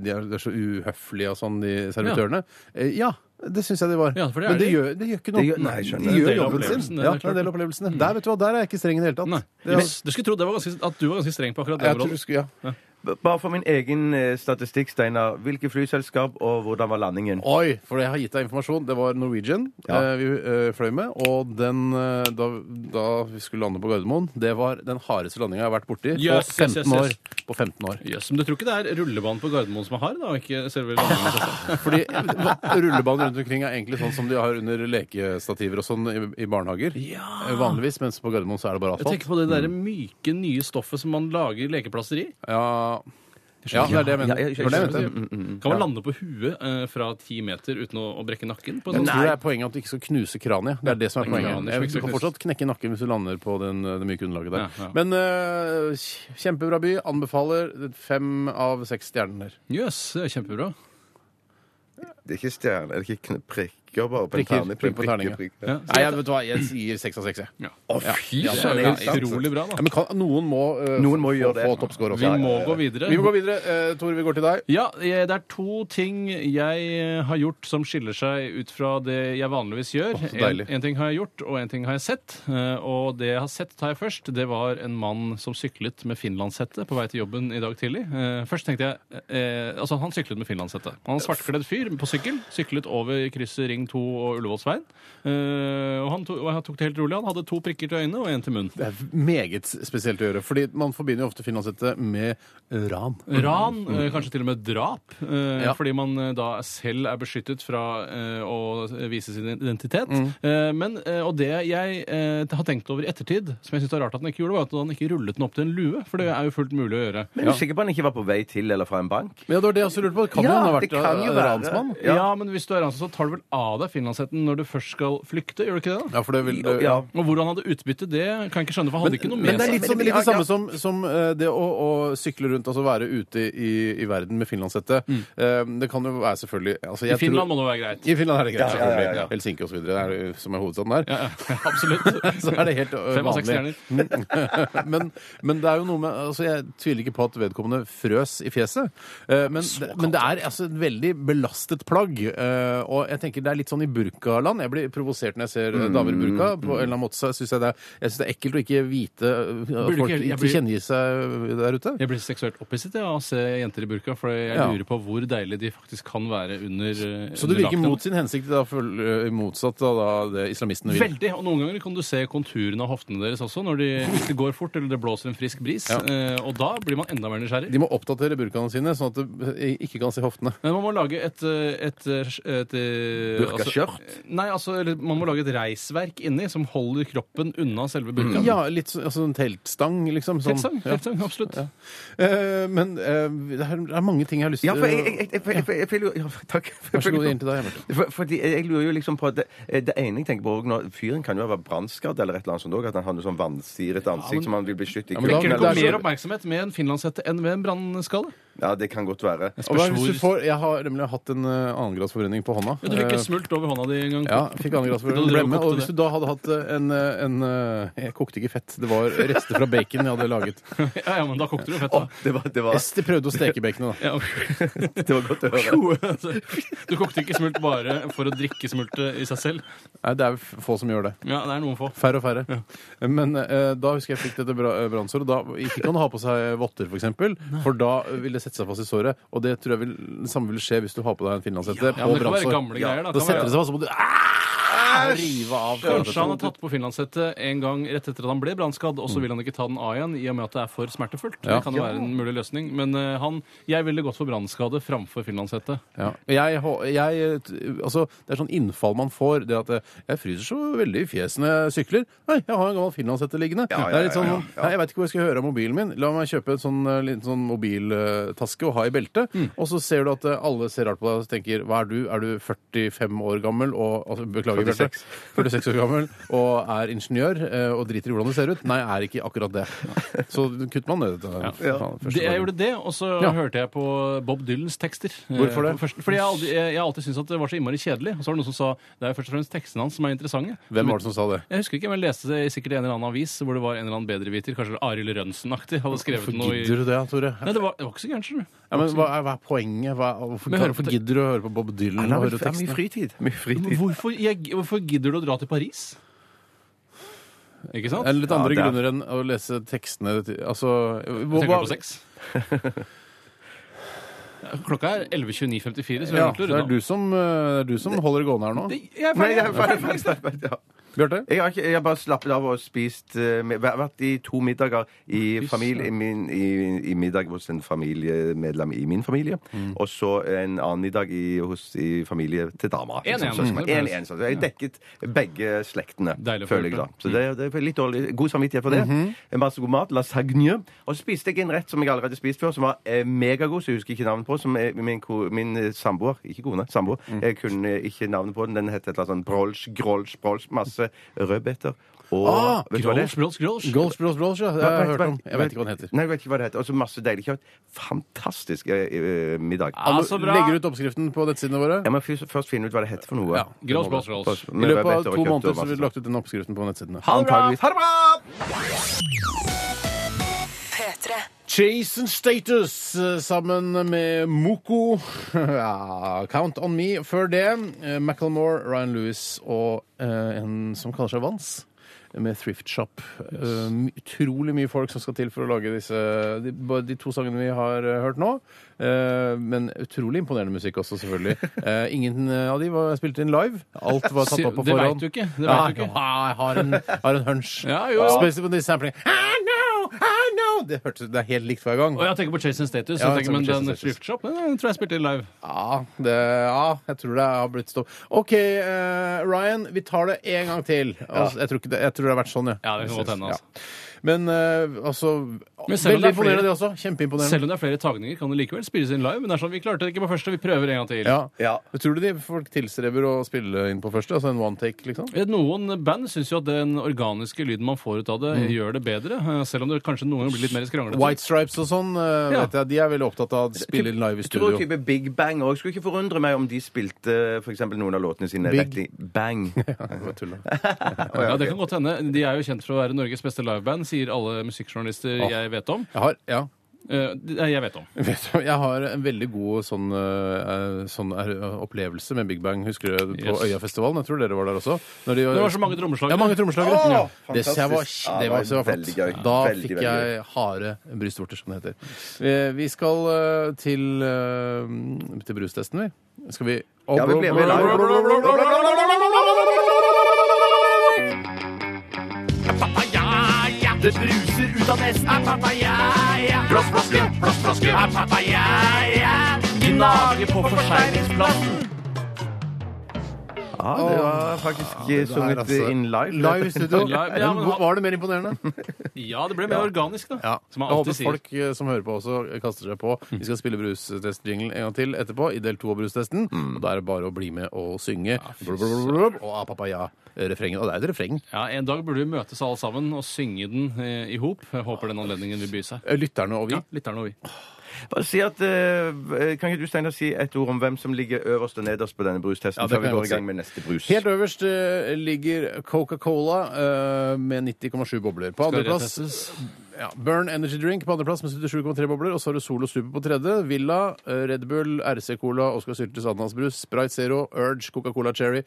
de er, de er så uhøflige og sånn, de servitørene. Eh, Ja. Det syns jeg de var.
Ja, for det er
Men det
de.
gjør, det gjør ikke noe.
Det gjør- nei, jeg
de
skjønner.
gjør
Det er en del av
jobben
opplevelsen,
sin.
det er
Ja,
klart.
det er en del av opplevelsene. Der vet du hva, der er jeg ikke streng i det hele tatt.
Nei.
Det er-
Men Du skulle tro det var ganske, at du var ganske streng på akkurat det
jeg tror, du
området.
skulle- ja.
B- Bare for min egen eh, statistikk, Steinar. Hvilke flyselskap, og hvordan var landingen?
Oi, for jeg har gitt deg informasjon. Det var Norwegian
Ja.
eh, vi eh, fløy med. Og den, eh, da, da vi skulle lande på Gardermoen, det var den hardeste landinga jeg har vært borti
Yes,
på, 15
yes, yes, yes.
År, på 15 år.
Jøss, men du tror ikke det er rullebanen på Gardermoen som er hard, da? og Ikke
Ah,
selve liksom? landingen i seg selv?
Fordi rullebanen rundt omkring er egentlig sånn som de har under lekestativer og sånn i, i barnehager.
Ja.
Eh, Vanligvis, mens på Gardermoen så er det bare
Jeg tenker
asfalt.
på det der myke, nye stoffet som man lager lekeplasser i.
Ja, ja, det er det jeg
Ja,
mener.
jeg- jeg-
Det var det jeg mente.
Mm, Kan man lande på huet eh, fra ti meter uten å, å brekke nakken? På
Jeg
en sånn-
tror det er poenget at du ikke skal knuse kraniet. Det er det som er
Det er kraniet som
poenget.
ikke
Du
skal
kan
knuses.
fortsatt knekke nakken hvis du lander på den, det myke underlaget der.
Ja, ja.
Men øh, kj- kjempebra by. Anbefaler fem av seks stjerner.
Jøss, det er kjempebra.
Det er ikke stjerner, det er ikke kn- prikker bare på en
Prikker,
terning.
prikker på terningen.
prikker.
Ja.
Nei, jeg, vet du hva, jeg sier seks av seks, jeg.
Ja.
Å, fy
Ja,
søren!
det er
det er jo sant.
utrolig bra,
Ja,
da.
men kan, noen må, øh,
Noen må
få,
gjøre det.
få toppscore
Vi
også.
må gå videre.
Vi må gå videre. Eh, Tore, vi går til deg.
Ja, eh, det er to ting jeg eh, har gjort som skiller seg ut fra det jeg vanligvis gjør.
Å, så
en,
deilig.
en ting har jeg gjort, og en ting har jeg sett. Eh, Og det jeg har sett, tar jeg først. Det var en mann som syklet med finlandshette på vei til jobben i dag tidlig. Eh, Først tenkte jeg eh, Altså, han syklet med finlandshette. Han var en svartkledd fyr på sykkel. Syklet over krysset Ring 2 og Ullevålsveien. Eh, Og han to- og han tok det helt rolig. Han hadde to prikker til øynene og én til munnen.
Det er meget spesielt å gjøre, fordi man forbinder jo ofte finlandshette med ran.
Ran, eh, kanskje til og med drap, eh,
Mhm. Ja.
fordi man eh, da selv er beskyttet fra eh, å vise sin identitet.
Mhm.
Eh, Men, eh, og det jeg eh, har tenkt over i ettertid, som jeg syns er rart at han ikke gjorde, var at han ikke rullet den opp til en lue, for det er jo fullt mulig å gjøre.
Men er du sikker på at han ikke var på vei til eller fra en bank?
Men ja, det var det jeg også lurte på. Kan
Ja,
jo han ha
det
vært
kan jo
eh,
være.
ransmann?
Ja. men hvis du er ransom, så tar du vel av deg finlandshetten når du først skal flykte, gjør du ikke det? da?
Ja, altså, for det vil,
Ja.
Og hvordan han hadde utbytte, det kan jeg ikke skjønne, for han hadde ikke noe
Men
med
det er
seg.
litt, sånn, litt det samme som, som eh, det å, å sykle rundt, altså være ute i, i verden med finlandshette. Eh, Det kan jo være selvfølgelig altså, jeg
Mm. I Finland
tror,
må det være greit.
I Finland er det greit,
Ja, ja, ja, ja.
selvfølgelig. Helsinki og så videre, det er jo- som er hovedstaden der.
Ja, ja, absolutt.
Så er det helt ø,
Fem av seks
vanlig. Mm. men, men det er jo noe med altså Jeg tviler ikke på at vedkommende frøs i fjeset. Eh, Men, men det er altså et veldig belastet plagg. eh, Og jeg tenker det er litt sånn i burkaland. Jeg blir provosert når jeg ser eh, damer i burka. På en eller annen måte så synes jeg det er, jeg synes det er ekkelt å ikke vite eh,
Burde
at
ikke-
folk
jeg
ikke
blir-
kjenner seg eh, der ute.
Jeg blir seksuelt opphisset ja, av å se jenter i burka, for jeg
Ja.
lurer på hvor deilig de faktisk kan være under eh,
Så det
under
virker
lakenet.
mot sin hensikt, da, føl- eh, motsatt av da, det islamistene vil.
Veldig. Og noen ganger kan du se konturene av hoftene deres også, når de, hvis det går fort eller det blåser en frisk bris.
Ja.
Eh, og da blir man enda mer nysgjerrig.
De må oppdatere burkaene sine, sånn at du eh, ikke kan se hoftene.
Men man må lage et, eh, et, eh, et, eh,
Burkaskjørt?
Altså, nei, altså, eller man må lage et reisverk inni som holder kroppen unna selve burkaen.
Ja, litt sånn altså, en teltstang, liksom. Sånn.
Helt sant,
Ja.
helt sant, absolutt.
Eh, men eh, det, er, det er mange ting jeg har lyst
Ja,
til
for jeg, jeg, jeg, jeg, jeg, jeg, jeg, jeg, jeg Takk.
Vær så god, inn til deg. Bjarte.
For, fordi jeg lurer jo liksom på at det, det ene jeg tenker på også når Fyren kan jo være brannskadd eller et eller annet sånt også, at han har noe sånn vannstirret ansikt som han vil beskytte i
men da-
Ikke det
kroppen.
går
det er
mer
så- Eh.
oppmerksomhet med en finlandshette enn ved en brannskalle.
Ja, det kan godt være.
Og hva hvis
Spørs
du
hvor-
får, jeg har nemlig hatt en eh, annengradsforbrenning på hånda.
Ja, Du fikk
Eh,
en smult over hånda di en gang.
ja, fikk annengradsforbrenning på
Da drev du og
blemmet.
kokte
Og hvis du da hadde hatt eh, en, eh, en eh, Jeg kokte ikke fett. Det var rester fra bacon jeg hadde laget.
ja, ja, men da kokte du fett, da.
Å, det, var, det, var,
Jeg prøvde å steke baconet, da.
Ja, ok.
det var godt å høre.
Du kokte ikke smult bare for å drikke smultet i seg selv.
Nei, det er f- få som gjør det.
Ja, det er noen få.
Færre og færre. Men eh, da husker jeg jeg fikk dette bra- eh, brannsåret. Da ikke kan du ha på seg votter, f.eks., for, eksempel, for da vil det sette seg fast i såret. Og det tror jeg vil, det samme vil skje hvis du har på deg en finlandshette
Ja,
på
men det kan være
brannsår.
gamle greier,
Da
da. Kan
setter
være-
det seg fast, og så må du å rive av
Kanskje han har tatt på finlandshettet en gang rett etter at han ble brannskadd, og så vil han ikke ta den av igjen i og med at det er for smertefullt.
Ja.
Det kan jo være en mulig løsning. Men eh, han, jeg ville gått for brannskade framfor finlandshette.
Ja. Jeg, hå- jeg, altså, det er sånn innfall man får. Det at eh, jeg fryser så veldig i fjeset når jeg sykler. Nei, jeg har en gammel finlandshette liggende.
Ja, ja,
det er litt sånn,
ja, ja, ja.
Nei, jeg veit ikke hvor jeg skal høre av mobilen min. La meg kjøpe en sånn, eh, liten sånn mobiltaske og ha i beltet.
Mm.
Og så ser du at eh, alle ser rart på deg og tenker Hva er du? Er du 45 år gammel og altså, Beklager, Bjarte.
46.
46 år gammel og er ingeniør eh, og driter i hvordan du ser ut. Nei, er ikke akkurat det. Så kutter man ned dette. Faen, første
Det, jeg
dagen.
gjorde det, og så
Ja.
hørte jeg på Bob Dylans tekster. eh,
Hvorfor det?
på Først, fordi jeg har aldri, jeg, jeg har alltid syntes at det var så innmari kjedelig. Og så var det noen som sa det er jo først og fremst tekstene hans som er interessante.
Hvem var det som sa det?
Jeg husker ikke, men jeg leste det i sikkert en eller annen avis hvor det var en eller annen bedreviter, kanskje Arild Rønnsen-aktig, hadde skrevet
Hvorfor
noe i
gidder du det, Tore?
Nei, det var, det var ikke så gærent, skjønner du.
Ja, men hva er, hva er poenget? Hva, hvorfor,
Men hører
hvorfor
på-
gidder du å høre på Bob Dylan?
Han
og
har
høre
vel- det er mye
tekstene?
fritid. Mye
Men
fritid.
Hvorfor, jeg, hvorfor gidder du å dra til Paris? Ikke sant?
Det er litt
Ja,
andre
det er-
grunner enn å lese tekstene til Altså hva,
Tenker du på sex? Klokka er 11.29,54, så vi
Ja,
er
så
nødt til
det
å
er du
runde av.
som, eh, det er du som holder det gående her nå.
Det- Jeg er
Nei,
ferdig.
jeg er ferdig, ferdig, ferdig, ferdig, ja.
Bjarte?
Jeg har, ikke, jeg har bare slappet av og spist eh, med- væ- Vært i to middager i, familie, i, min, i, i middag hos en familiemedlem i min familie. Og så en annen middag i, hos, i familie til dama.
En-en.
Sånn som-
Mm.
en-en, sånn. Jeg dekket begge slektene,
Deilig å få
føler jeg da.
gjort
Så det, er- det er litt dårlig, god samvittighet for det.
Mhm.
En masse god mat. Lasagne. Og så spiste jeg en rett som jeg allerede har spist før, som var eh, megagod, så jeg husker ikke navnet på. Som eh, min, ko- min eh, samboer Ikke kone, samboer.
Mm.
Jeg kunne eh, ikke navnet på den. Den het et eller annet sånn brolsj, grolsj, brolsj. Masse rødbeter. Og
Ah,
Vet du hva det
Grolsch,
er?
grolsch, grolsch.
Goals, goals, goals, ja. Det har jeg hørt om. Jeg vet ikke hva den heter.
Nei, jeg vet ikke hva det heter. Og så masse deilig kjøtt. Fantastisk eh, eh, middag.
Ah,
Ja, så bra.
Legger ut oppskriften på nettsidene våre.
Jeg må først først finne ut hva det heter for noe.
Ja.
Grolsch, grolsch, grolsch.
I
Med
løpet av
rødbeter og
to
kjøtt og
måneder så
masse
vil vi lagt ut den oppskriften på nettsidene.
sånt. Antageligvis. Ha det bra!
P3.
Jason Status eh, sammen med Moko. ja, Count on me. Før det, eh, Macklemore, Ryan Lewis og eh, en som kaller seg Vans. Med Thrift Shop. Eh, my- utrolig mye folk som skal til for å lage disse de, bare de to sangene vi har eh, hørt nå. Eh, men utrolig imponerende musikk også, selvfølgelig. Eh, ingen eh, av de var spilt inn live. Alt var tatt opp på
Det vet
forhånd.
du ikke, det vet
Ja,
du ikke.
ja, jeg har en, jeg har en hunch.
Ja, jo, jo.
Spesielt på de samplingene. I know, I know! Det, hørtes, det er helt likt hver gang.
Og jeg tenker på Chasing Status,
Ja,
jeg
jeg tenker på
tenker, men
Chasing
den
Status.
Thrift Shop den den tror jeg spilte live.
Ja, det, ja, jeg tror det har blitt stopp. OK, eh, Ryan, vi tar det en gang til. Altså, jeg, tror ikke det, jeg tror det har vært sånn,
Ja, det kan godt hende, altså.
Ja. Men eh, altså
Men selv om det
Veldig
er flere-
imponerende, det også. Kjempeimponerende.
Selv om det er flere tagninger, kan det likevel spilles inn live. Men det er sånn, vi klarte det ikke på første, vi prøver en gang til.
Ja.
Ja.
Tror du de folk tilstreber å spille inn på første? Altså en one take, liksom?
Eh, Noen band syns jo at den organiske lyden man får ut av det, gjør det bedre. eh, Selv om det kanskje noen ganger blir litt mer skranglete.
Mm. White Stripes og sånn, eh,
Ja.
vet jeg, de er veldig opptatt av å spille inn live i
Jeg tror
studio.
type Big Bang òg. Skulle ikke forundre meg om de spilte eh, for eksempel noen av låtene sine
Big-
rett i Bang.
Det var tull, da.
Ja, det kan godt hende. De er jo kjent for å være Norges beste liveband, sier alle musikkjournalister
Åh.
jeg vet om.
Jeg har, ja.
Eh, de- jeg vet om.
Vet du, jeg har en veldig god sånn, eh, sånn er- opplevelse med Big Bang. Husker du det på
Yes.
Øyafestivalen? Jeg tror dere var der også. Når de,
Det var så mange trommeslagere.
Ja, mange trommeslagere.
Åh,
Ja. Det,
fantastisk.
jeg var,
Ja,
det var, det var flott.
veldig gøy.
Da
Veldig,
fikk
veldig
jeg harde brystvorter, som det heter. Eh, Vi skal eh, til, eh, til brustesten, vi. Skal vi
Ja, vi ble med
Det bruser ut av nesten. Er papaya. Plastflaske, plastflaske. Er papaya. Gnager på forseglingsplassen.
Ja, det var faktisk eh, sunget
altså-
in live.
Live i studio.
Live, ja, men
Hvor- Var det mer imponerende?
Ja, det ble mer organisk, da.
Ja.
Som man
jeg
alltid
håper
sier.
folk eh, som hører på, også eh, kaster seg på. Vi skal spille brustestjinglen en gang til etterpå, i del to av brustesten. Og da er det bare å bli med og synge blub, blub, blub, blub, og apapaya-refrenget. Og det er et refreng.
Ja, En dag burde vi møtes alle sammen og synge den eh, i hop. Jeg håper den anledningen vil by seg.
Eh, Lytterne og vi.
Ja, lytterne og vi.
Bare si at, eh, kan ikke du Steiner, si et ord om hvem som ligger øverst og nederst på denne brustesten?
Ja, det
før
kan
vi
jeg
går
godt
i gang
si.
med neste brus.
Helt øverst eh, ligger Coca-Cola eh, med 90,7 bobler. På
Skal
andreplass
retestes.
ja, Burn Energy Drink på andreplass med 77,3 bobler. Og så har du Solo Super på tredje. Villa, eh, Red Bull, RC Cola, Oscar Syltes ananasbrus, Sprite Zero, Urge, Coca-Cola Cherry,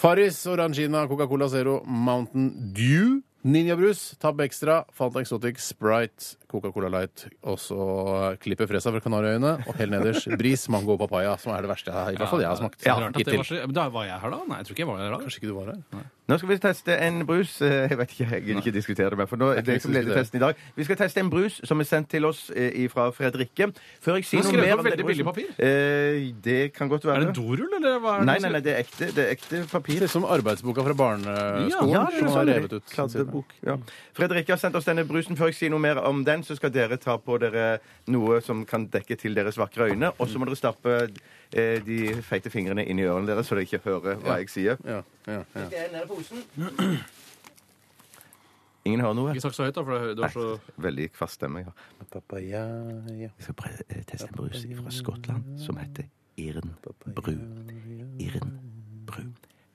Farris, Orangina, Coca-Cola Zero, Mountain Dew. Ninjabrus, Tab Extra, Fanta Exotic, Sprite, Coca-Cola Light, og så klippet fresa fra Kanariøyene, og helt nederst bris, mango og papaya, som er det verste jeg, i hvert fall jeg har smakt.
Ja, rart at det
hittil.
var så, men da var jeg her da? Nei, jeg tror ikke jeg var her da.
Kanskje ikke du var her?
Nå skal vi teste en brus. Eh, Jeg vet ikke, jeg vil ikke diskutere det mer. for nå er det
ikke
som leder testen i dag. Vi skal teste en brus som er sendt til oss fra Fredrikke. Før jeg sier
Men
noe
skrevet
mer
på
om
veldig
denne
billig
brusen- Eh, Det kan godt være.
Er det dorull, eller hva er det?
Nei, nei, nei, det er ekte, det er ekte papir.
Det ser ut som arbeidsboka fra barneskolen
sånn
Ja,
som har revet ut.
Kladdebok. Ja.
Mm.
Fredrikke har sendt oss denne brusen. Før jeg sier noe mer om den, så skal dere ta på dere noe som kan dekke til deres vakre øyne. Og så må dere stappe eh, de feite fingrene inn i ørene deres, så dere ikke hører hva jeg sier.
Ja, ja, ja.
Det er nede på posen. Ingen hører noe?
Ikke sagt så høyt, da, for det det var så
Veldig kvass stemme jeg har.
Papaya, ja.
Vi skal prøve eh, teste en brus fra Skottland som heter Irn Bru. Irn Bru.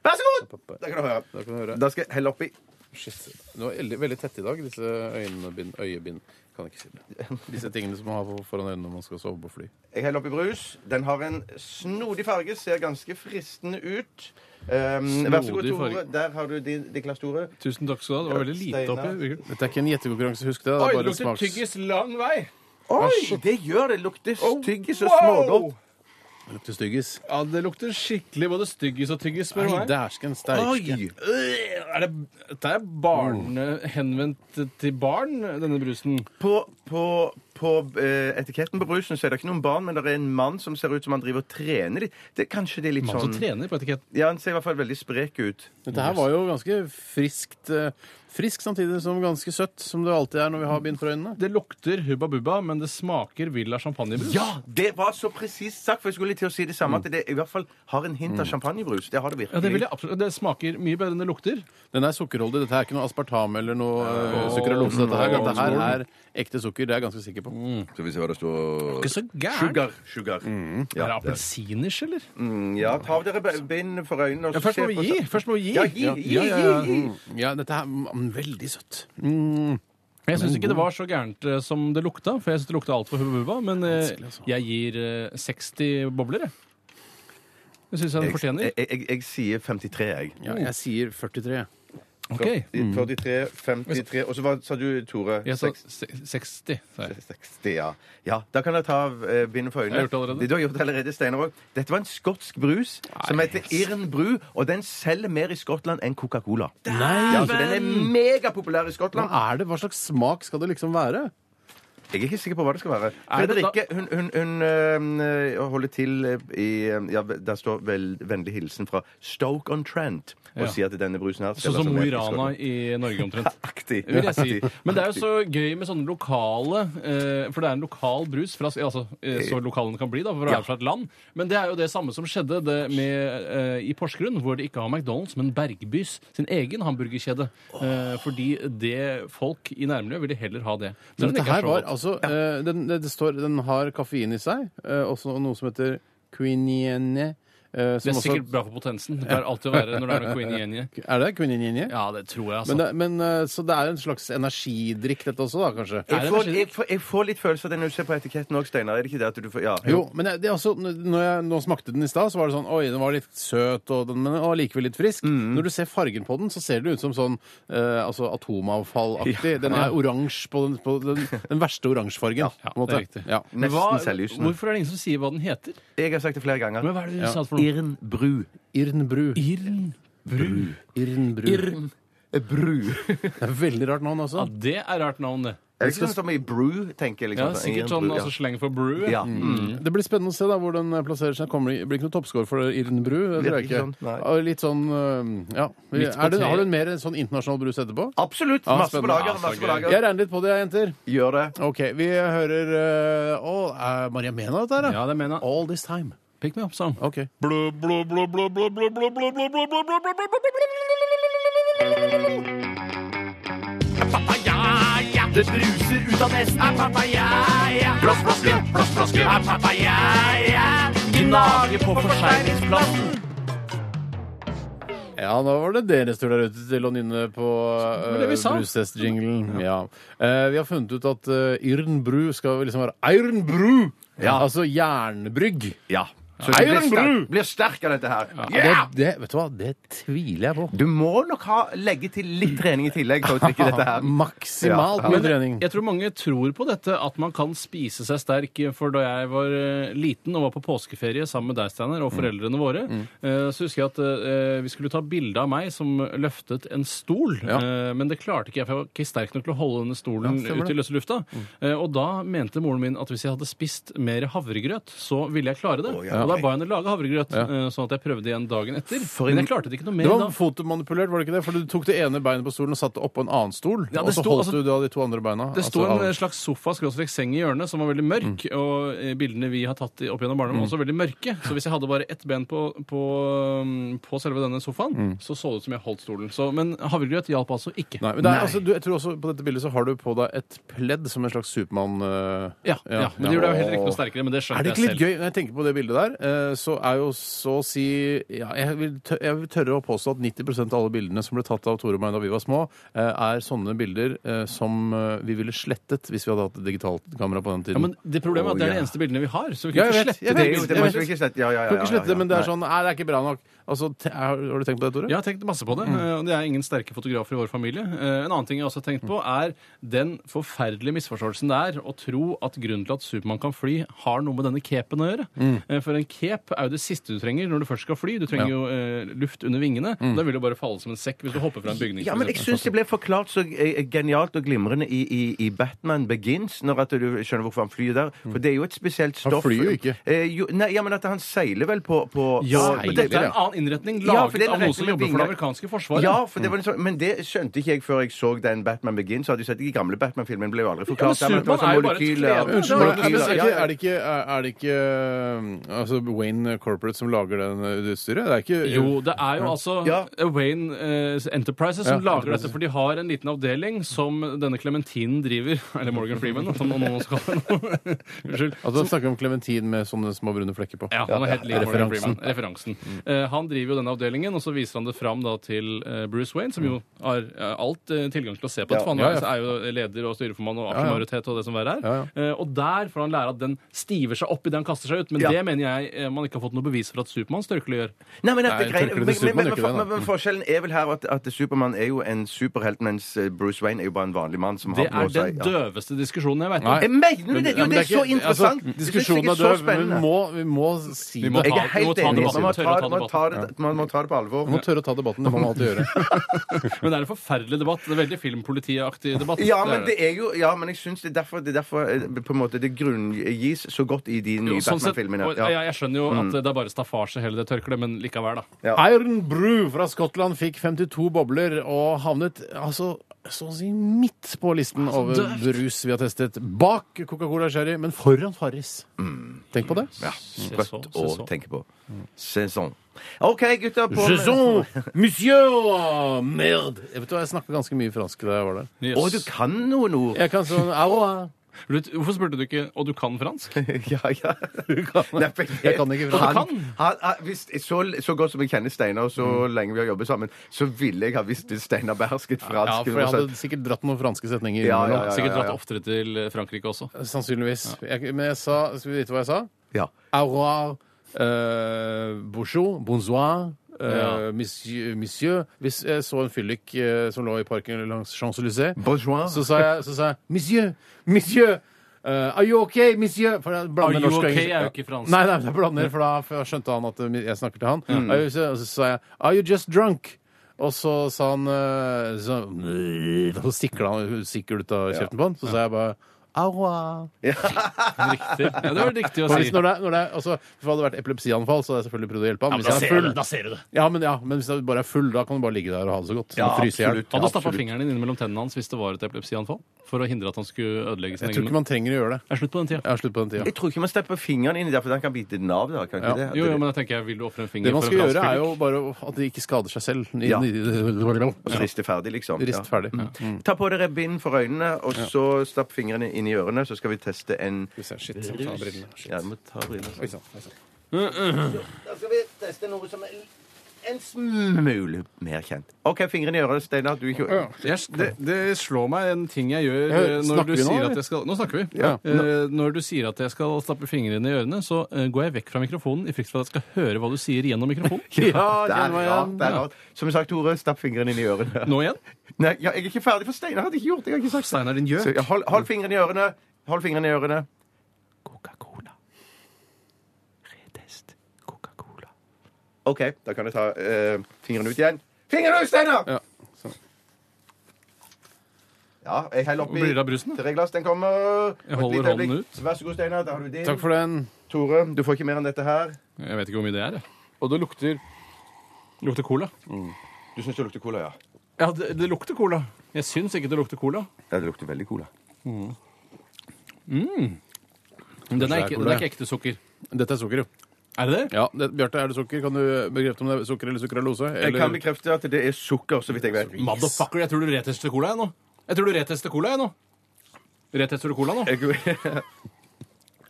Vær så god! Da kan du høre.
Da kan du høre.
Da skal jeg helle oppi.
Shit. Det var veldig, veldig tett i dag, disse øyebind. øyebind. Kan jeg ikke si det. Disse tingene som man har foran øynene når man skal sove på fly.
Jeg heller oppi brus. Den har en snodig farge, ser ganske fristende ut. Um, vær så god,
Snodig
Tore.
farge.
Der har du din, din klass, Tore.
Tusen takk skal du ha. Det var veldig lite
Steinar.
oppi. virkelig.
Dette er ikke en gjettekonkurranse, husk det. Det er bare en smaks...
lang vei.
Oi, det gjør det! Lukter tyggis og
wow!
smågodt.
Det lukter styggis.
Ja, det lukter skikkelig både styggis og tyggis, spør du
Nei,
meg.
dæsken steike.
Oi! Øh, Er det, dette er barne, henvendt til barn, denne brusen.
På, på, på eh, etiketten på brusen så er det ikke noen barn, men det er en mann som ser ut som han driver og trener. de. Det, kanskje det er litt
Man som
sånn
trener på etiketten.
Ja, Han ser i hvert fall veldig sprek ut.
Dette her var jo ganske friskt. eh, Frisk samtidig som ganske søtt, som det alltid er når vi har bind for øynene.
Det lukter Hubba Bubba, men det smaker Villa champagnebrus.
Ja, det var så presist sagt, for jeg skulle til å si det samme. At det i hvert fall har en hint av champagnebrus. Det har
Mm.
det
Ja, det, vil
virkelig.
jeg absolutt. det smaker mye bedre enn det lukter.
Den er sukkerholdig. Dette er ikke noe aspartam eller noe eh, sukralose. Dette her, dette her er ekte sukker. Det er jeg ganske sikker på.
Skal vi se hva det står
Ikke så gærent.
Sugar.
Er
Sugar.
det
Ja, det- Mm.
appelsiners, eller?
ja, ta av dere b- bind for øynene. og
Ja,
så
først
se
må vi
på-
gi. Først må vi gi.
Ja, gi, gi,
Ja, ja, ja.
gi, gi.
Ja, dette er mm, veldig søtt.
Jeg syns ikke det var så gærent eh, som det lukta, for jeg syns det lukta altfor Hubba Bubba. Men eh,
Vanskelig, altså.
jeg gir eh, 60 bobler, jeg. Det syns jeg den fortjener.
eh,
Jeg, jeg, jeg, jeg sier 53, jeg.
Ja, jeg sier 43.
Ok.
43, 53 Og så hva sa du, Tore?
Jeg sa
Seks-
se- 60. sa jeg.
60, ja. ja. Da kan jeg ta av eh, bindet for øynene.
Jeg har gjort det allerede.
Det du har gjort allerede, Steinar òg. Dette var en skotsk brus som heter Irn Bru, og den selger mer i Skottland enn Coca-Cola. Ja, så den er megapopulær i
Hva
Skottland.
er det? Hva slags smak skal det liksom være?
Jeg er ikke sikker på hva det skal være.
Er det
Fredrikke hun, hun, hun øh, holder til øh, i øh, ja, Der står vel, vennlig hilsen fra Stoke-on-Trent og
Ja.
sier at denne brusen her
Sånn som Mo i Rana i Norge, omtrent.
Aktig.
vil jeg si. Men det er jo så gøy med sånne lokale eh, For det er en lokal brus, fra, altså, eh, så lokal den kan bli, da, for å være fra et land. Men det er jo det samme som skjedde det med, eh, i Porsgrunn, hvor de ikke har McDonald's, men Bergbys sin egen hamburgerkjede. Eh, fordi det folk i nærmiljøet ville heller ha det. Selv om det
Dette
ikke er
her
så
var
godt.
altså eh, den, det, det står, den har kaffein i seg, eh, også noe som heter quiniene. eh,
det
som
er
også-
sikkert bra for potensen. Det pleier alltid å være når det er noe Queen Jenny.
Er det quiniene?
Ja, det tror jeg, altså.
Men, det, men eh, Så det er en slags energidrikk, dette også, da, kanskje?
Er
Jeg
det
får,
kanskje-
jeg, får, jeg får litt følelse av det når du ser på etiketten òg, Steinar. Er det ikke det at du får Ja.
Jo, men det er også, når jeg nå smakte den i stad, så var det sånn Oi, den var litt søt, og den, men den var likevel litt frisk.
Mm.
Når du ser fargen på den, så ser det ut som sånn eh, altså atomavfallaktig. Den er oransje på den, på den, den verste oransjefargen. på
Ja,
en måte.
det er riktig.
Ja.
Nesten selvlysende.
hvorfor er det ingen som sier hva den heter?
Jeg har sagt det flere ganger.
Men hva er det du sa for noe?
Irn Bru.
Irnbru.
Irn.
Bru.
Irnbru.
Irn Bru.
Det er veldig rart navn altså.
Ja,
også.
det er rart navn, det.
Er det ikke sånn som i Brew, tenker jeg
Ja,
liksom?
sikkert
Irn
sånn
Bru, ja.
altså, sleng for brew.
Ja. Mm.
Det blir spennende å se da hvor den plasserer seg. Kommer det blir ikke noe toppscore for Irnbru? Det tror jeg
Blir ikke
ikke.
sånn, nei.
Ja, Litt sånn eh, Ja.
Midt
Er
på
det,
treet.
har du en mer sånn internasjonal brus etterpå?
Absolutt.
Ja,
Masse på
spennende.
lager.
Ja,
Masse
så
på
gøy.
Jeg
lager.
regner litt på det, jenter.
Gjør det.
Ok, vi hører eh, Å, er Maria Mena dette her, da?
Ja, det mener jeg.
All this time.
Pick me up, song.
Ok.
Papaya, det bruser ut av nesen av papaya. Blåsflaske, blåsflaske av papaya. Gnage på forseglingsplassen.
Ja, da var det deres tur der ute til å nynne på
var
uh,
det vi sa.
brustest-jinglen. Ja. Eh, vi har funnet ut øh, at uh, Irnbru skal liksom være Irnbru!
Ja.
Altså jernbrygg.
Ja. Så du blir
Iron
sterk, blir sterk av dette her.
Det,
Ja!
det, vet du hva, det tviler jeg på.
Du må nok ha, legge til litt trening i tillegg for å trykke dette her.
Maksimalt
Ja.
med trening.
Jeg tror mange tror på dette at man kan spise seg sterk. For da jeg var eh, liten og var på påskeferie sammen med deg, Steinar, og foreldrene våre, eh, så husker jeg at eh, vi skulle ta bilde av meg som løftet en stol.
Ja.
eh, Men det klarte ikke jeg, for jeg var ikke sterk nok til å holde denne stolen
Ja, stemmer
ut i løse lufta. Eh, Og da mente moren min at hvis jeg hadde spist mer havregrøt, så ville jeg klare det.
ja,
Og da
ok.
ba jeg henne lage havregrøt,
Ja.
eh, sånn at jeg prøvde igjen dagen etter.
For
Men
en-
jeg klarte det ikke noe
Det
mer
var
da.
fotomanipulert, var det ikke det? For du tok det ene beinet på stolen og satte oppå en annen stol,
Ja, det
og så
sto-
holdt
altså-
du da de to andre beina.
Det sto
altså, av- Mm.
en slags sofa skråstrek seng i hjørnet som var veldig mørk, og eh, bildene vi har tatt i- opp gjennom barndommen, var også veldig mørke. Så hvis jeg hadde bare ett ben på, på, um, på selve denne sofaen, så så det ut som jeg holdt stolen. Så, men havregrøt hjalp altså ikke.
Mm. Nei, men det er, altså, du, jeg tror også På dette bildet så har du på deg et pledd som en slags Supermann. øh,
Ja, ja, men det gjorde jeg jo heller ikke noe sterkere, men det
Er
skjønte
det ikke
jeg
litt
selv.
gøy når jeg tenker på det bildet der? eh, Så er jo så å si ja, jeg, vil tør, jeg vil tørre å påstå at 90 av alle bildene som ble tatt av Tore og meg da vi var små, eh, er sånne bilder eh, som eh, vi ville slettet hvis vi hadde hatt et digitalt kamera på den
Ja,
tiden.
men det problemet er at det er
Å,
de
ja.
eneste bildene vi har, så vi
Ja,
kan
jeg
ikke
vet, jeg
slette det.
Det er jo, det må vi ikke slette. Ja, ja, ja,
Du kan
ja,
ikke
ja,
slette det, men det er
Nei.
sånn Nei, det er ikke bra nok. Altså, te, har, har du tenkt på det, Tore?
Jeg har tenkt masse på det.
Mm.
Eh, og Det er ingen sterke fotografer i vår familie. Eh, En annen ting jeg også har tenkt på, er den forferdelige misforståelsen det er å tro at grunnen til at Supermann kan fly, har noe med denne capen å gjøre.
Mm.
Eh, For en cape er jo det siste du trenger når du først skal fly. Du trenger jo eh, luft under vingene. Da vil du bare falle som en sekk hvis du hopper fra en bygning.
Mm. Ja,
for
men jeg
eksempel.
syns det ble forklart så eh, genialt og glimrende i, i, i Batman Begins, når at du skjønner hvorfor han flyr der. For det er jo et spesielt
Han
stoff.
flyr jo ikke.
Eh, jo, nei, ja, men at han seiler vel på, på
ja,
på-
men
Seiler,
dette er
ja.
en annen innretning
Ja, for
laget
det er
av noen
rett
som
med
jobber for det
vinger.
amerikanske forsvaret.
Ja, for det var en sånn, men det skjønte ikke jeg før jeg så den Batman Begins. Hadde jeg sett de gamle Batman-filmene, ble jo aldri forklart.
Ja, men
Det var
Superman
sånn
er jo bare et
molekyler,
klede.
molekyler,
Unnskyld meg,
Molekyler,
er det
ja,
ikke,
ja.
er det ikke, er det ikke eh, altså Wayne Corporate som lager den, eh, det utstyret? Det er ikke
Jo, det er jo altså
Ja.
Wayne eh, Enterprises som
Ja,
lager dette, for de har en liten avdeling som denne Clementinen driver, eller Morgan Freeman, som noen også kaller den. Unnskyld.
Altså, da snakker vi om klementin med sånne små brune flekker på.
Ja, han er helt lik Morgan
referansen. Mm.
Freeman. Referansen. Eh, han driver jo denne avdelingen, og så viser han det fram da, til eh, Bruce Wayne, som jo har eh, alt eh, tilgang til å se på. dette, for han
Mm. Ja, ja.
er jo leder og styreformann
ja.
og aksjemajoritet og det som verre er.
Ja,
Eh, og der får han lære at den stiver seg opp idet han kaster seg ut, men
Ja.
det mener jeg eh, man ikke har fått noe bevis for at Supermanns tørkle gjør.
Nei, men,
Nei,
at det
tørkleet
greiene-
til
men, men,
Superman
men,
er ikke det,
men,
da.
men forskjellen er vel her at, at Supermann er jo en superhelt, mens eh, Bruce Wayne er jo bare en vanlig mann som
Det
har på
er den
seg ja.
døveste diskusjonen jeg veit om.
Nei.
Jeg mener jo
Ja,
det! Jo,
men
det er så
ikke- Altså,
interessant! Det synes jeg
diskusjonen
er
er
så
døv, men vi
spennende.
må, vi må si
Vi må
det.
ta-
Jeg er
Vi må
helt
ta
enig.
debatten.
Man må
Tørre å
ta,
ta
man tar, det- man må ta det på alvor.
Vi må tørre å ta debatten. Det må man alltid gjøre.
Men det er en forferdelig debatt. Det er veldig filmpolitiaktig debatt. Det
Ja,
er
men
det.
det er jo Ja, men jeg syns det er derfor, det, er derfor eh, på en måte, det grunngis så godt i de nye
Sånn sett-
Batman-filmene.
og-
Ja.
ja, jeg skjønner jo at det er bare staffasje hele det tørkleet, men likevel, da.
Iron Brew fra Skottland fikk 52 bobler og havnet altså så å si midt på
Altså,
listen over brus vi har testet. Bak Coca-Cola Sherry, men foran Farris.
Mm.
Tenk på det.
Ja.
så,
Sprøtt
se
å
så.
tenke på. Sesong. OK, gutter. På
Saison, monsieur, merde. Jeg vet du hva, jeg snakka ganske mye fransk da jeg var der.
Yes.
Å, du kan noen ord!
Jeg kan sånn au, au.
Du- Hvorfor spurte du ikke Og du kan fransk?
Ja, ja. Nei, for-
Jeg kan ikke fransk.
Han, han, han, hvis, så, så godt som jeg kjenner Steinar, og så lenge vi har jobbet sammen, så ville jeg ha visst hvis Steinar behersket fransk.
Ja, for jeg hadde sikkert dratt noen franske setninger
Ja, ja,
innimellom.
ja.
Sikkert dratt oftere til Frankrike også.
Sannsynligvis. Jeg, men jeg sa Skal vi vite hva jeg sa?
Ja.
Au revoir, eh, bonjour, bonsoir, eh,
Ja.
monsieur, monsieur. Hvis jeg så en fyllik eh, som lå i parken langs Champs-Élysées,
Bonjour.
så sa jeg, så sa jeg monsieur, monsieur. eh, are you okay, monsieur? For jeg blander
Are you
norsk og
okay
engelsk.
er jo ikke fransk. Mm.
Nei, nei, jeg blander, for da for da skjønte han at eh, jeg snakker til han. Are you- så, så sa jeg Are you just drunk? Og så sa han eh, Så, øh, så stikla han sikkert ut av kjeften på han. Så sa jeg bare au revoir.
Riktig. Ja, det var riktig å
Og
si.
hvis når det, er- når det, er- altså, hvis det hadde vært epilepsianfall, så hadde jeg selvfølgelig prøvd å hjelpe ham. hvis jeg er full,
ser du det.
ja, men, ja, men hvis jeg bare er full, da kan du bare ligge der og ha det så godt.
Ja,
Og fryse i hjel.
absolutt.
Hadde du stappa
Absolutt.
fingeren din innimellom tennene hans hvis det var et epilepsianfall? For å hindre at han skulle ødelegge sin
Jeg tror ikke
egen
man trenger å gjøre det.
Det er slutt på den tida.
Jeg har slutt på den tida.
Jeg tror ikke man stepper fingeren inn i det, for den kan bite den av. Da. Kan ikke det?
Jo, jo, men jeg tenker jeg vil du ofre en finger
Det man
for
skal
en fransk
gjøre, er
fyllik?
jo bare å- at de ikke skader seg selv. I,
Ja.
i, i,
Og så riste ferdig, liksom.
Rist
Ja.
ferdig. Mm.
Ta på dere bind for øynene, og så stapp fingrene inn i ørene, så skal vi teste en
Shit, jeg må ta av brillene. Shit.
sånn, Ja, du må ta brillene.
Oi sann. oi sann.
Da skal vi teste noe som er en smule mer kjent. OK, fingrene i øret, Steinar. Du ikke
Jeg, det, det slår meg en ting jeg gjør
Ja,
eh, når
snakker
du
vi nå,
sier
eller?
at jeg skal Nå snakker vi.
Ja.
Eh, Når du sier at jeg skal stappe fingrene i ørene, så eh, går jeg vekk fra mikrofonen i frykt for at jeg skal høre hva du sier gjennom mikrofonen.
det er rart. det er rart. Som sagt, Tore, stapp fingrene inn i ørene.
Nå igjen.
Nei, ja, jeg er ikke ferdig, for Steinar hadde ikke gjort det. Jeg har ikke sagt det.
Steinar, din
Så,
gjør.
ja, hold, hold fingrene i ørene. Hold fingrene i ørene. Coca-Cola. Retest. Coca-Cola. OK, da kan jeg ta eh, fingrene ut igjen. Fingrene ut, Steinar!
Ja.
Ja, jeg heller oppi
Blir det av brusen, da?
tre glass. Den kommer.
Jeg
Og et
holder
lite øyeblikk.
hånden ut.
Vær så god, Steinar. Da har du din.
Takk for den.
Tore, du får ikke mer enn dette her.
Jeg vet ikke hvor mye det er. jeg.
Og det lukter
Lukter cola.
Du syns det lukter cola, ja?
Ja, det, det lukter cola. Jeg syns ikke det lukter cola.
Ja, det lukter veldig cola.
Men den er
Kanskje det er
ikke,
cola,
den er ikke ekte sukker.
Dette er sukker, jo.
Er det det?
Ja, det, Bjarte, er det sukker? Kan du bekrefte om det er sukker eller sukkeralose?
Jeg
Eller
kan bekrefte at det er sukker, så vidt jeg vet.
Motherfucker, jeg tror du retester cola, jeg nå. Jeg tror du retester cola, jeg nå. Retester du cola nå?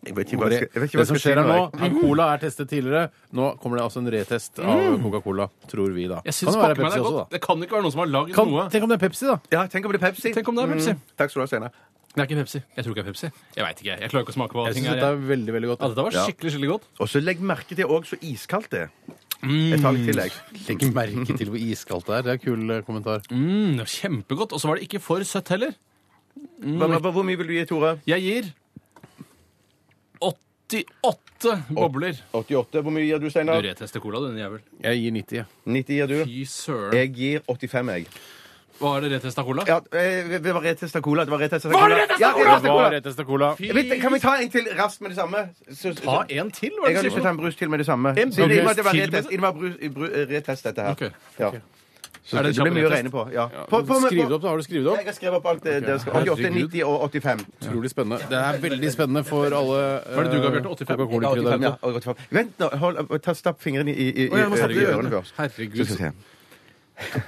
Jeg, jeg vet ikke hva jeg
det,
skal, jeg vet ikke hva
det
jeg
som
skal si
skjer her nå,
jeg-
er Cola er testet tidligere. Nå kommer det altså en retest av Coca-Cola, tror vi da.
Mm. Jeg syns
det være
pakker meg det
Pepsi
er godt.
også, da?
Det kan ikke være noen som har lagd
Kan,
noe.
tenk om det er Pepsi, da!
Ja, tenk om det er Pepsi. Mm.
Tenk om det er Pepsi.
Takk skal du ha, Steinar.
Det er ikke Pepsi. Jeg tror ikke det er Pepsi. Jeg veit ikke. Jeg klarer ikke å smake på
Jeg
ting
syns
her.
dette er
jeg.
Altså, veldig, veldig godt.
Ja, dette var
Ja.
skikkelig, skikkelig godt.
Og så legg merke til òg så iskaldt det er.
Mm.
Jeg tar litt tillegg.
Legg merke til hvor iskaldt det er. Det er en kul eh, kommentar.
Mm, det var kjempegodt. Og så var det ikke for søtt heller.
Hva, hva, hvor mye vil du gi, Tore?
Jeg gir 88 bobler.
88. Hvor mye gir du,
Du
Steinar?
retester cola, du, din jævel.
Jeg gir 90. jeg.
90 gir du.
Fy søren.
Jeg gir 85, jeg.
Var det retesta cola?
Ja, eh, det var retesta cola. Det var retesta
Var
cola.
det retesta
Ja,
cola?
retesta cola.
retteste cola.
Jeg vet, kan vi ta en til raskt med det samme? Så- så-
Ta en til, var det
jeg har lyst til å ta en brus til med det samme. Siden
brus
det var- det var
til med
retest,
det?
det var brus- bru- retest, dette her.
Ok.
Ja. Så
Er det
det
en
blir mye å
kjapp
regne på. Ja. På- på-
Skriv det opp, da. Har du skrevet det
Jeg
opp?
har skrevet opp alt det dere skal. 88,
Sånn. Herregud.
90 og 85.
Utrolig spennende. Det er veldig spennende for alle eh,
Hva er det du ga, Bjarte? 85?
Ja, 85, ja.
Coca-Cola-krydder.
85. Vent nå, hold, eh, ta stapp fingrene i, i, i,
Å, jeg må
i
stappe i
ørene
ørene.
først.
Herregud.
Så skal vi se.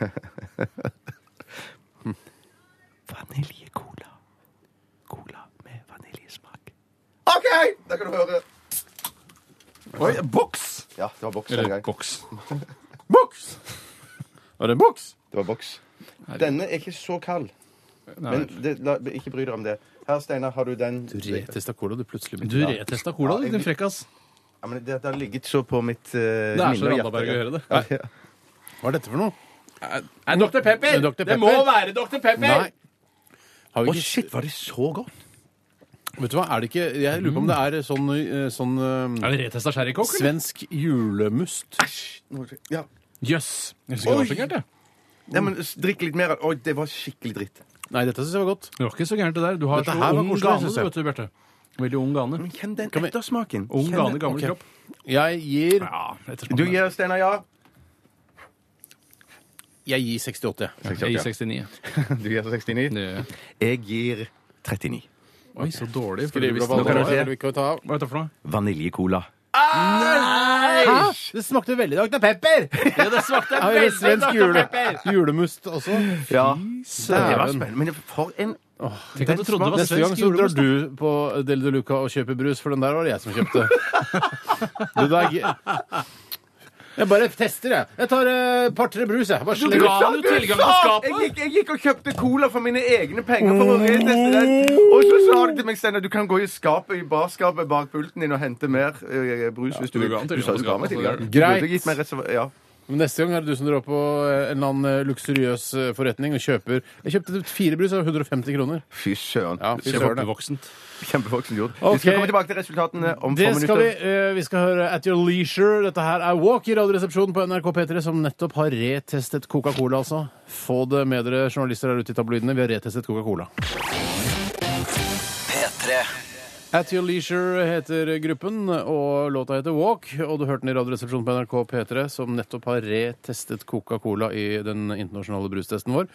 Vaniljekola. Cola med vaniljesmak. OK! Da kan du høre.
Oi, boks!
Ja, det var boks denne
Eller
gang.
koks.
Boks! Var det en boks?
Det var boks. Denne er ikke så kald, men det, la, ikke bry deg om det. Her, Steinar, har du den.
Du retesta cola, du plutselig
Du retesta cola, du, din frekkas.
Ja, men det, det har ligget så på mitt uh,
Det er så Randaberg å gjøre det.
Ja, ja.
Hva er dette for noe?
Nei, Dr. Pepper!
Dr.
Det må
Pepper.
være Dr. Pepper!
Nei. Har
Å,
vi ikke,
shit, var det så godt?
vet du hva, er det ikke Jeg lurer på om det er sånn, eh, sånn eh,
Er det retesta sherrykokk? eller?
svensk julemust.
Ja.
Jøss. Jeg husker ikke det var
Oi.
så gærent, jeg.
ja, men s- Drikk litt mer. Oi, det var skikkelig dritt.
Nei, dette syns jeg var godt.
Det var ikke så gærent, det der. Du har
Dette
så
her var
ung
koselig,
gane,
synes
du,
jeg.
vet du, Bjarte. Veldig ung gane.
Men kjenn den
Kan vi-
ettersmaken.
Ung
Kjenn
gane,
den.
gammel
ok.
kropp.
Jeg gir,
Ja, ettersmak.
Du gir Steinar ja.
jeg gir 68. jeg.
Jeg gir 69.
Du gir 69.
Det gjør jeg.
Jeg gir 39.
Oi, så dårlig. for du
Skriver opp
visste
alle
det.
kan
nå,
jeg se.
eller vi kan ta av.
Hva er dette for noe?
Vaniljekola.
Hæ? Det smakte veldig Dr. Pepper!
Ja, det smakte
Ja, eller svensk jule, julemust også.
Ja. Det var
Dæven.
spennende. Men for en
Tenk at du trodde det var
Neste gang
svensk
så drar
julemust. da.
du på Del de Luca og kjøper brus, for den der var det jeg som kjøpte. Du, det er ikke... Jeg bare tester, jeg. Jeg tar eh, et par-tre brus, jeg. Bare slenger.
Ga du tilgang til skapet?
Jeg gikk, jeg gikk og kjøpte cola for mine egne penger for å reteste den. Og så sa du til meg, Steinar, du kan gå i skapet i barskapet bak pulten din og hente mer eh, brus hvis du
du
vil.
ga han
Du sa du
tilgang
ga
på
meg
skapet,
tilgang.
så det er-
Du burde gitt meg reserv- Ja.
Men neste gang er det du som drar på eh, en eller annen eh, luksuriøs eh, forretning og kjøper Jeg kjøpte fire brus for 150 kroner.
Fy søren.
Ja, fy
Det
søren.
var voksent.
Kjempevoksen gjort.
Ok.
Vi skal komme tilbake til resultatene om
Det
få
skal vi.
minutter.
Eh, Vi skal høre At Your Leisure. Dette her er Walk i Radioresepsjonen på NRK P3, som nettopp har retestet Coca-Cola, altså. Få det med dere journalister der ute i tabloidene. Vi har retestet Coca-Cola.
P3
At Your Leisure heter gruppen, og låta heter Walk. Og du hørte den i Radioresepsjonen på NRK P3, som nettopp har retestet Coca-Cola i den internasjonale brustesten vår.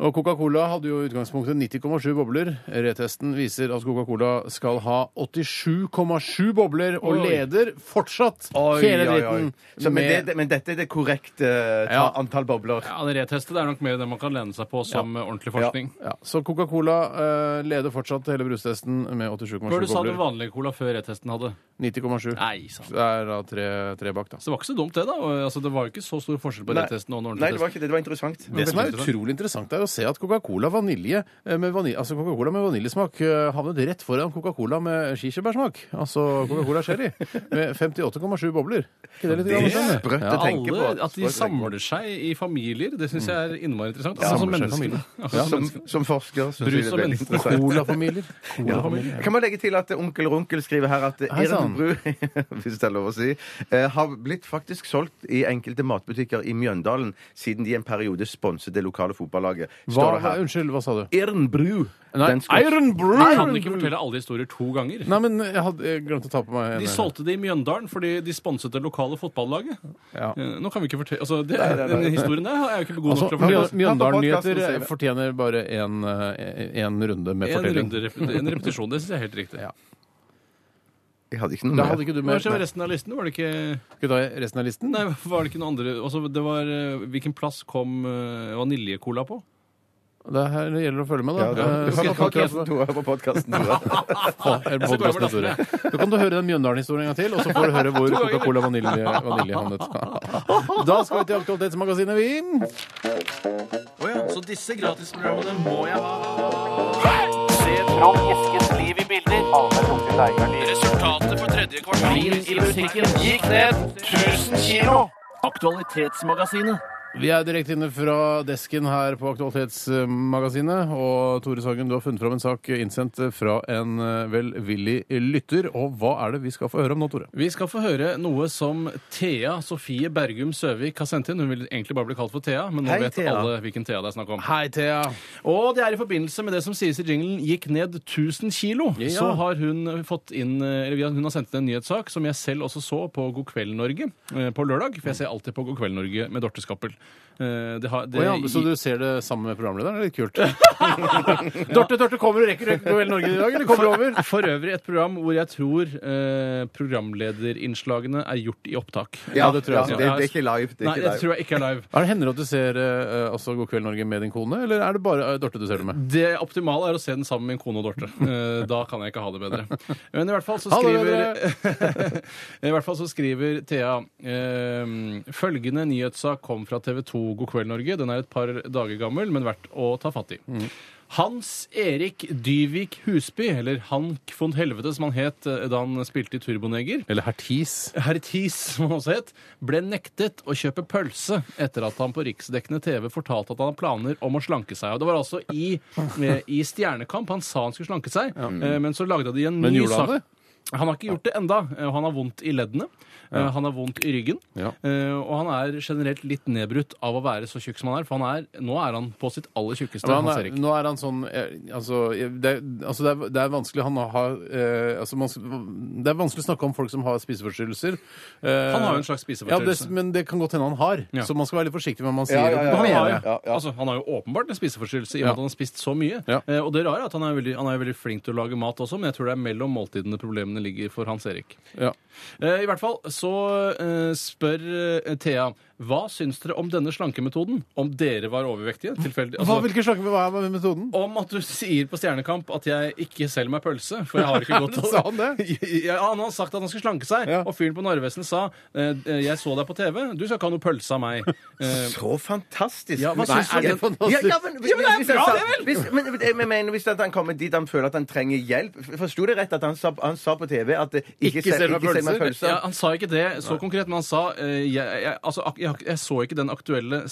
Og Coca-Cola hadde jo i utgangspunktet 90,7 bobler. Retesten viser at Coca-Cola skal ha 87,7 bobler, og
Oi.
leder fortsatt
Oi,
hele
oi, oi.
dritten
Så, men,
med
det, men dette er det korrekte eh, ta,
Ja.
antall bobler.
Ja, det retestet er nok mer det man kan lene seg på som eh, ordentlig forskning.
ja, Så Coca-Cola eh, leder fortsatt hele brustesten med 87,7
Hva var det du sa den
bobler.
vanlige cola før retesten hadde?
90,7.
Nei, sant.
Det er da tre, tre bak, da.
Så det var ikke så dumt, det, da. Og, Altså, det var jo ikke så stor forskjell på
Nei.
retesten og den
Nei, det
ordentlige
var
testen.
ikke det. Det var interessant.
Det som er utrolig interessant, er å se at Coca-Cola vanilje eh, med, vanil altså Coca med vaniljesmak eh, havnet rett foran Coca-Cola med kirsebærsmak. Altså Coca-Cola sherry. Med 58,7 bobler. Ikke det litt
Det er
grann spennende?
sprøtt å tenke på.
Alle, at de
Sprøtt å tenke på.
samler seg i familier, det syns jeg er innmari interessant.
Ja,
altså,
samler seg i
menneskene.
Ja,
Altså,
Som, som forsker syns jeg
Brus og
det er veldig
mennesker.
interessant.
Colafamilier. Colafamilier.
Kan man legge til at onkel Runkel skriver her at
Hei sann.
Irn Bru hvis det er lov å si, eh, har blitt faktisk solgt i enkelte matbutikker i Mjøndalen siden de en periode sponset det lokale fotballaget.
Hva,
Står det her.
unnskyld, hva sa du?
Irn Bru.
Nei,
den skots-
Iron Brew!
Jeg kan ikke fortelle alle historier to ganger.
Mm. Nei, men jeg hadde jeg glemte å ta på meg
De
en-
solgte det i Mjøndalen fordi de sponset det lokale fotballaget.
Ja.
Eh, Nå kan vi ikke fortelle altså, det, Den historien der er jo ikke god nok
Altså,
til å fortelle.
Mjø-
oss.
Mjøndalen-nyheter fortjener bare én runde med
En,
fortelling.
runde, rep- en repetisjon. Det syns jeg er helt riktig.
Ja.
Jeg hadde ikke noe
Da hadde
mer.
ikke du
Hva
med
skjer med resten av listen? Var det ikke,
Skal vi ta resten av listen?
nei, var det ikke noen andre altså, det var, eh, Hvilken plass kom eh, vaniljecola på?
Det er her det gjelder å følge med, da.
Ja,
Eh,
det var-
så kan
Hør på
ikke jeg-
podcasten, Tore, hør på podcasten, Tore.
Å, er det
Jeg skal gå over
podcasten, Tore. Da kan du høre den Mjøndalen-historien en gang til, og så får du høre hvor Coca-Cola vanilje, vanilje havnet. Da skal vi til Aktualitetsmagasinet, vi.
Så disse gratisprogrammene må jeg ha. Resultatet på tredje kvartal i musikken gikk ned 1000 kilo. Aktualitetsmagasinet.
Vi er direkte inne fra desken her på Aktualitetsmagasinet. Og Tore Sagen, du har funnet fram en sak innsendt fra en eh, velvillig lytter. Og hva er det vi skal få høre om nå, Tore?
Vi skal få høre noe som Thea Sofie Bergum Søvik har sendt inn. Hun vil egentlig bare bli kalt for Thea, men nå
Hei,
vet
Thea.
alle hvilken Thea det er snakk om.
Hei, Thea.
Og det er i forbindelse med det som sies i jinglen 'gikk ned 1000 kilo'.
Ja.
Så har hun fått inn eller vi har- hun har sendt inn en nyhetssak som jeg selv også så på God kveld Norge eh, på lørdag. For jeg ser alltid på God kveld Norge med Dorte Skappel. Eh, Det har, det,
Å ja, så du ser det sammen med programlederen? Det er litt kult. Dorte, Dorte, kommer du rekker du rekker hele Norge i dag, eller kommer du over?
For øvrig et program hvor jeg tror eh, programlederinnslagene er gjort i opptak.
Ja, det tror jeg også.
Ja, det, det er ikke live. Det er
Nei,
ikke
det
live.
tror jeg ikke er live.
Er det hender at du ser eh, altså God kveld Norge med din kone, eller er det bare eh, Dorte du ser det med?
Det optimale er å se den sammen med min kone og Dorte. Eh, Da kan jeg ikke ha det bedre. Men i hvert fall så
Ha det
skriver, Eh, I hvert fall så skriver Thea ehm, følgende nyhetssak kom fra TV 2 God kveld Norge. Den er et par dager gammel, men verdt å ta fatt i. Hans Erik Dyvik Husby, eller Hank von Helvete som han het eh, da han spilte i Turboneger,
Eller Hertis?
Hertis, som han også het, ble nektet å kjøpe pølse etter at han på riksdekkende TV fortalte at han har planer om å slanke seg. Og Det var altså i, eh, i Stjernekamp han sa han skulle slanke seg, eh, men så lagde de en
Men
ny
gjorde han
sak.
det?
Han har ikke gjort det enda, eh, og han har vondt i leddene. eh, Han har vondt i ryggen.
Ja.
eh, Og han er generelt litt nedbrutt av å være så tjukk som han er, for han er, nå er han på sitt aller tjukkeste.
Men
Hans
han er,
Erik.
nå er han sånn eh, Altså, det, er- altså det, er, det er vanskelig Han har eh, altså man, Det er vanskelig å snakke om folk som har spiseforstyrrelser. Eh,
Han har jo en slags
ja, det,
spiseforstyrrelse.
men det kan godt hende han har,
Ja.
så man skal være litt forsiktig med hva man sier.
Ja, ja, ja,
Og han,
ja,
har,
ja, ja, ja.
Altså, han har jo åpenbart en spiseforstyrrelse i
Ja.
og med at han har spist så mye.
Ja.
Eh, og det rare er at han er, veldig, han er veldig flink til å lage mat også, men jeg tror det er mellom måltidene problemene ligger for Hans Erik.
Ja.
Eh, I hvert fall så eh, spør eh, Thea hva syns dere om denne slankemetoden? Om dere var overvektige? Tilfeldig?
Hva,
Altså,
hvilke slags hva er metoden?
om at du sier på Stjernekamp at jeg ikke selger meg pølse, for jeg har ikke gått
Sa han det?
ja, Han har sagt at han skal slanke seg,
Ja.
og fyren på Narvesen sa eh, jeg så deg på TV, du skal ikke ha noe pølse av meg. Eh,
Så fantastisk!
Ja, hva
Nei,
syns du
er
om
det
det?
fantastisk? Ja,
Ja, men
men,
det er
hvis
bra,
han sa-
det er vel?
Hvis, men, men- men, men hvis at han kommer dit han føler at han trenger hjelp Forsto det rett at han sa, han sa på TV at eh,
Ikke
se-
send meg
ikke send meg
pølser?
pølser?
Ja, han sa ikke det så konkret, men han sa eh, jeg, jeg, altså, ak- jeg, jeg så ikke den aktuelle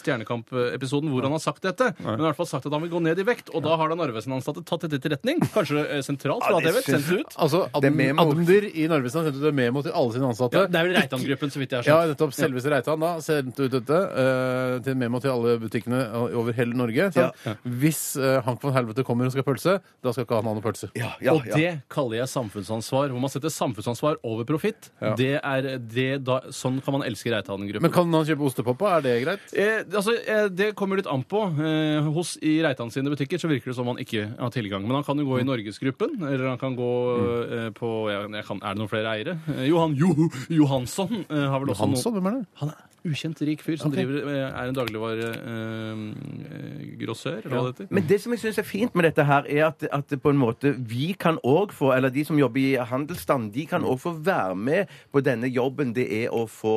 Stjernekamp-episoden hvor han har sagt dette, men han har i hvert fall sagt at han vil gå ned i vekt, og da har den Narvesen-ansatte tatt dette til retning. Kanskje eh, sentralt, for
Ja,
alt jeg
det
vet, sendt det ut.
Altså,
Det er
Adm-
memo.
Admder i Narvesen sendte ut en memo til alle sine ansatte.
Ja, det er vel Reitan-gruppen, så vidt jeg har
Ja,
skjønt.
nettopp. Selveste Reitan da sendte ut dette eh, til en memo til alle butikkene over hele Norge. sant? Hvis eh, Hank von Helvete kommer og skal ha pølse, da skal ikke han ha noe pølse.
Ja, ja,
Og
ja.
det kaller jeg samfunnsansvar, hvor man man setter samfunnsansvar over profitt,
Ja.
det er det da, sånn kan man elske Reitan-gruppen.
Men kan han kjøpe ostepoppa? Er det greit?
Eh, altså, eh, det kommer litt an på. Eh, hos I Reitan sine butikker så virker det som han ikke har tilgang. Men han kan jo gå i Norgesgruppen, eller han kan gå eh, på jeg, jeg kan, Er det noen flere eiere? Eh, Johan jo, Johansson eh, har vel også
Hansson, hvem er det?
han er ukjent rik fyr som driver, eh, er en dagligvaregrossør, eller hva det heter.
Men det som jeg syns er fint med dette her, er at, at det på en måte vi kan òg få Eller de som jobber i handelsstand, de kan òg få være med på denne jobben det er å få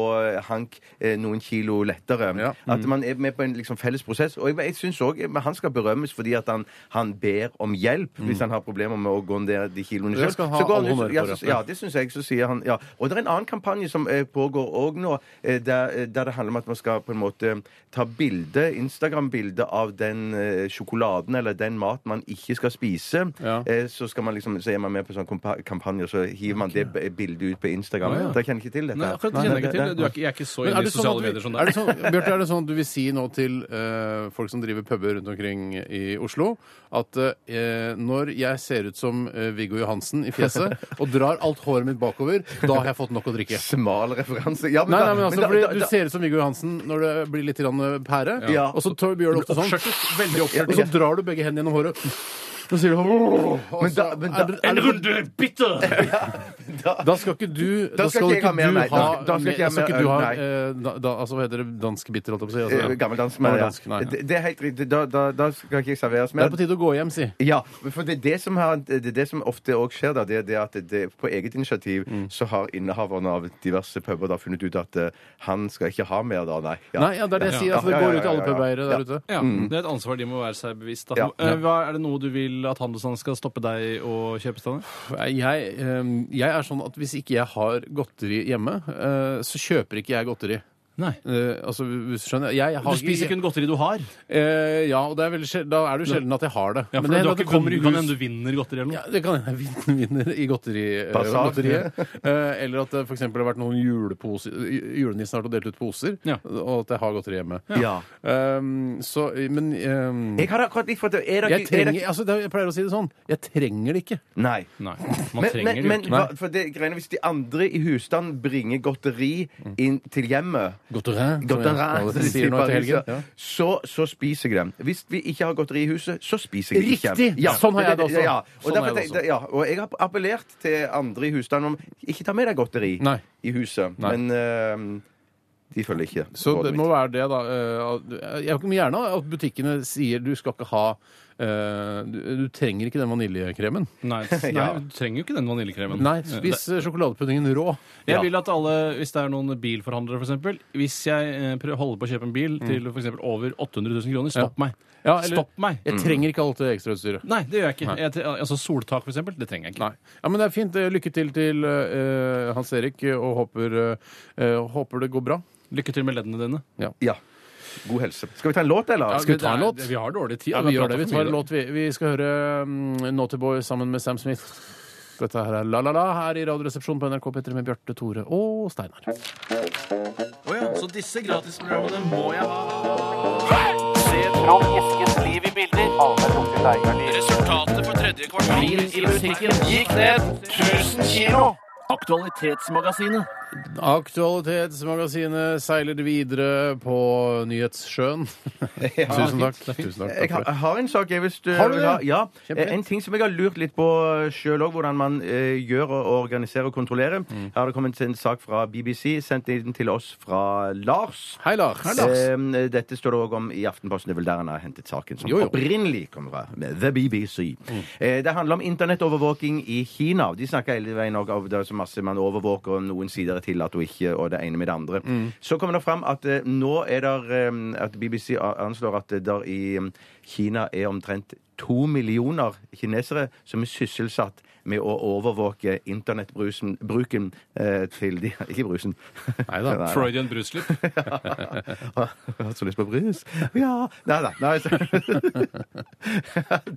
Hank eh, noen kilo lettere.
Ja.
At man er med på en liksom, felles prosess. Og jeg, jeg syns òg han skal berømmes fordi at han, han ber om hjelp hvis han har problemer med å gå ned de kiloene
Mm. Det
selv.
skal han ha
Så går
all
han ut-
honnør
ja,
for,
så-
ja.
ja, det syns jeg. Så sier han ja. Og det er en annen kampanje som eh, pågår òg nå, eh, der, eh, der det handler om at man skal på en måte ta bilde, Instagram-bilde av den eh, sjokoladen eller den mat man ikke skal spise.
Ja.
Eh, så, skal man liksom, så er man med på sånn kompa- kampanje, og så hiver man det b- bildet ut på Instagram.
Å, ja.
Dere kjenner ikke til dette?
Nei,
her.
akkurat det kjenner jeg ikke
Nei,
til.
nei,
Du er ikke, jeg er ikke så
Men
inne
er
i
det sånn at
sosiale
du-
medier
er
som deg.
det sånn, Bjarte, er det sånn at du vil si nå til eh, folk som driver puber rundt omkring i Oslo, at eh, når jeg ser ut som eh, Viggo Johansen i fjeset og drar alt håret mitt bakover, da har jeg fått nok å drikke?
Smal referanse. Ja,
Nei, nei, men
da-
altså,
da-
fordi
da-
Du
da-
ser ut som Viggo Johansen når du blir litt grann eh, pære,
Ja.
og så tar- gjør du ofte sånn.
Oppskjørtet, veldig
Og så
oppskjørtet.
drar du begge hendene gjennom håret. Så sier du «Åh», og
Men da-
så
men
er
da-
det- er
En
det- sånn-
runde bitter!
Da skal ikke du Da
skal
skal
ikke jeg
ikke
ha mer,
du
nei. Da-
ha
da skal ikke
Da
jeg
skal
ha
ikke du
mer,
ha
nei.
eh, da- da- Altså, hva heter det? Dansk bitter, holdt jeg på å si.
Eh,
altså.
Gammeldansk. men ja.
Gammeldansk, nei, ja.
Det, det er helt riktig. Da, da, da skal ikke jeg serveres
Det
mer.
er på tide å gå hjem, si.
Ja, for det er det som, har, det, er det som ofte òg skjer, da, det er det at det, på eget initiativ
Mm.
så har innehaverne av diverse puber da funnet ut at eh, han skal ikke ha mer, da, nei. Ja.
Nei, ja, det er det jeg sier.
Ja,
Altså, det
ja,
går
ja,
ut til alle
ja, ja,
pubeiere
ja.
der ute.
Ja, Det er et ansvar de må være seg bevisst. Da.
Ja.
Eh, Hva, er det noe du vil at handelsstanden skal stoppe deg og kjøpe stedet?
Jeg, ehm, jeg er sånn at hvis ikke jeg har godteri hjemme, eh, så kjøper ikke jeg godteri.
Nei.
Eh, altså, hvis du skjønner jeg har
Du spiser kun godteri du har.
Eh, Ja, og det er veldig sjel- da er det jo sjelden at jeg har det.
Ja,
Men
for
det
du
hender
har
at det
ikke
kommer i
vunnet, kan
hus.
hende du vinner godteri eller noe.
Ja, det kan hende vinner, vinner i godteri, eh,
Basar.
godteriet. Eh, eller at det for eksempel har vært noen juleposer ju- Julenissen har vært og delt ut poser,
Ja.
og at jeg har godteri hjemme.
Ja.
Um, så, men um,
Jeg har akkurat litt for det. Er det
jeg
ikke- er det
trenger altså, det er- Jeg pleier å si det sånn. Jeg trenger det ikke.
ikke- Nei.
Nei, man
Men,
trenger
men,
jo
men
ikke.
hva, for det er greiene, hvis de andre i husstanden bringer godteri
Mm.
inn til hjemmet
Godteri.
godteri,
som
som
jeg
de
sier nå
sier på
etter helgen.
avisa, så, så spiser jeg dem. Hvis vi ikke har godteri i huset, så spiser jeg ikke
Riktig!
Ja,
Sånn har jeg det også.
Ja, og,
Sånn har
derfor,
jeg det
tenk- Ja, og jeg har appellert til andre i husstanden om ikke ta med deg godteri
Nei.
i huset.
Nei.
Men eh, de følger ikke.
Så
rådet
det må være det, da. eh, at- Jeg vil gjerne at butikkene sier du skal ikke ha eh, du, du trenger ikke den vaniljekremen.
Nei, nei,
Ja.
du trenger jo ikke den vaniljekremen.
Mm. Nei, spis eh, sjokoladepuddingen rå.
Jeg
Ja.
vil at alle, hvis det er noen bilforhandlere f.eks. Hvis jeg eh, prø- holder på å kjøpe en bil til for eksempel over 800 000 kroner, stopp meg.
Ja, eller- Mm.
Stopp meg!
Jeg trenger ikke alt det ekstrautstyret.
Nei, det gjør jeg ikke. Jeg, tre- altså Soltak, f.eks., det trenger jeg ikke.
Nei. Ja, men det er fint. Eh, Lykke til til eh, Hans Erik, og håper, eh, håper det går bra.
Lykke til med leddene dine.
Ja. God helse. Skal vi ta en låt, eller?
Skal vi ta en
Det er-
låt?
Vi har dårlig tid.
Ja, vi gjør det. Vi
pratet for
tar
mye.
en låt, vi. Vi skal høre mm, Naughty Boy sammen med Sam Smith. Dette her er La La La her i Radioresepsjonen på NRK P3 med Bjarte, Tore og Steinar. Aktualitetsmagasinet seiler videre på nyhetssjøen. Tusen takk. Tusen takk,
Jeg
takk
har,
for det.
jeg har en sak jeg hvis du
Har du det?
Ja, ja.
Kjempefint.
En ting som jeg har lurt litt på sjøl òg, hvordan man eh, gjør og organiserer og kontrollerer.
Mm.
Her har det kommet en sak fra BBC, sendt inn til oss fra Lars.
Hei, Lars.
Eh, dette står det òg om i Aftenposten. Det er vel der han har hentet saken som
Jo, Mm. jo.
opprinnelig kommer fra The BBC. Eh, det handler om internettovervåking i Kina. De snakker hele veien også om det er så masse man overvåker, og noen sider er tillatt og ikke, og det ene med det andre.
Mm.
Så kommer det fram at eh, nå er det ehm, at BBC a- anslår at det der i eh, Kina er omtrent to millioner kinesere som er sysselsatt med å overvåke internettbruken bruken, eh, til de Ikke brusen.
Neida.
Nei, nei.
Freudian brusslipp.
Jeg har hatt så lyst på brus. Ja Nei da. Nei, så...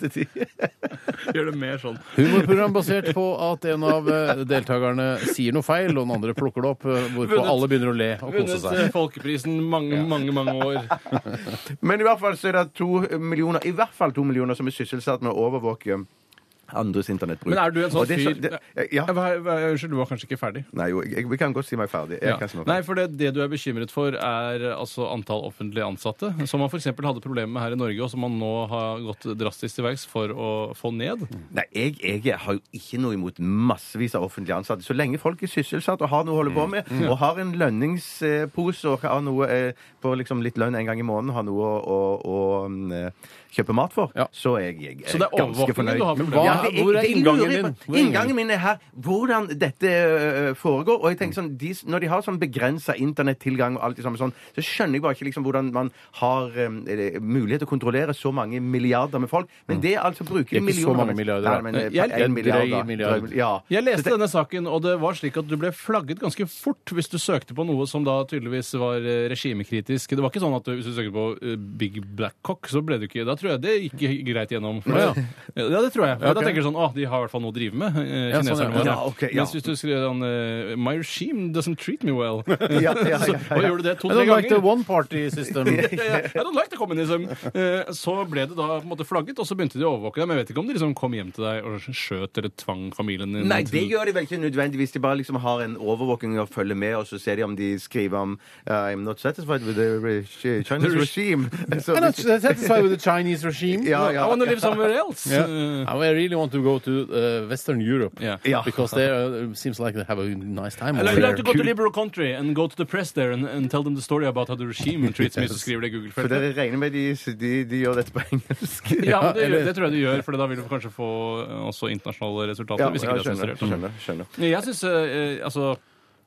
Det er-
Gjør det mer sånn.
Humorprogram basert på at en av eh, deltakerne sier noe feil, og den andre plukker det opp, eh, hvorpå
Vunnet.
alle begynner å le og kose
Vunnet
seg.
eh, folkeprisen mange, mange, mange år.
Men i hvert fall så er det to millioner, i hvert fall to millioner som er sysselsatt med å overvåke andres internettbruk.
Men er du en sånn
Og det-
fyr
det- Ja.
Hva- hva- Unnskyld, du var kanskje ikke ferdig?
Nei, jo, jeg, vi kan godt si meg ferdig. Jeg
Ja.
kan si meg
Nei,
ferdig.
for det, det du er bekymret for, er eh, altså antall offentlig ansatte, som man f.eks. hadde problemer med her i Norge, og som man nå har gått drastisk til verks for å få ned.
Nei, jeg, jeg har jo ikke noe imot massevis av offentlig ansatte. Så lenge folk er sysselsatt og har noe å holde
Mm.
på med, og har en lønningspose og har noe eh, på liksom litt lønn en gang i måneden, har noe å, å, å mm, eh, kjøpe mat for,
Ja.
så er jeg, jeg er
Så det er
ganske
overvåkningen
fornøyd.
du har problemer
med?
Ja, det
Hvor er
det
inngangen
lurer jeg på.
din? Hvor er inngangen?
Inngangen min er her hvordan dette øh, foregår. Og jeg
Mm.
tenker sånn, de, Når de har sånn begrensa internettilgang og alt det samme sånn, så skjønner jeg bare ikke liksom hvordan man har øhm, eh, mulighet til å kontrollere så mange milliarder med folk. Men det er altså bruker
Mm. Det er
de
ikke så
millioner
mange
med-
milliarder, da.
Nei, men, eh,
Jeg-
en milliard, da.
drøy milliard.
Drøy- Ja.
Jeg leste denne saken, og det var slik at du ble flagget ganske fort hvis du søkte på noe som da tydeligvis var eh, regimekritisk. Det var ikke sånn at du, hvis du søkte på eh, Big Black Cock, så ble du ikke Da tror jeg det gikk greit gjennom. For, ja. ja, det tror jeg. For
Ja, ok.
Da tenker du sånn Å, de har i hvert fall noe å drive med,
Ja,
eh,
sånn, ja.
kineserne våre.
Ja, ok, ja.
Mens hvis du skrev sånn eh, My regime doesn't treat me well.
Ja, ja, ja, ja.
Og gjorde du
I
det eh, to-tre
don't like the
ganger.
one party system.
I don't like the communism. Eh, Så ble det da på en måte flagget, og så begynte de å overvåke deg. Men jeg vet ikke om de liksom kom hjem til deg og skjøt eller tvang familien din
Nei, det
til
gjør de vel ikke nødvendigvis. De bare liksom har en overvåking og følger med, og så ser de om de skriver om uh, I'm not satisfied with the regi- Chinese regime. Så-
I'm not satisfied with the Chinese regime.
Ja,
I
ja.
wanna live somewhere else. Eh,
I really want to go to uh, Western Europe
Yeah.
Ja.
because they uh, seems like they have a nice time
I'd
over
like to
there.
go to liberal country and go to the press there and, and tell them the story about how the regime treats me, så skriver det i
For
Google-feltet.
dere regner med de, de, de gjør dette på engelsk?
Ja, men det,
eller-
gjør- det tror jeg du gjør, for da vil du kanskje få eh, også internasjonale resultater. hvis ikke det er
skjønner,
sensurert.
skjønner, skjønner.
Jeg syns eh, altså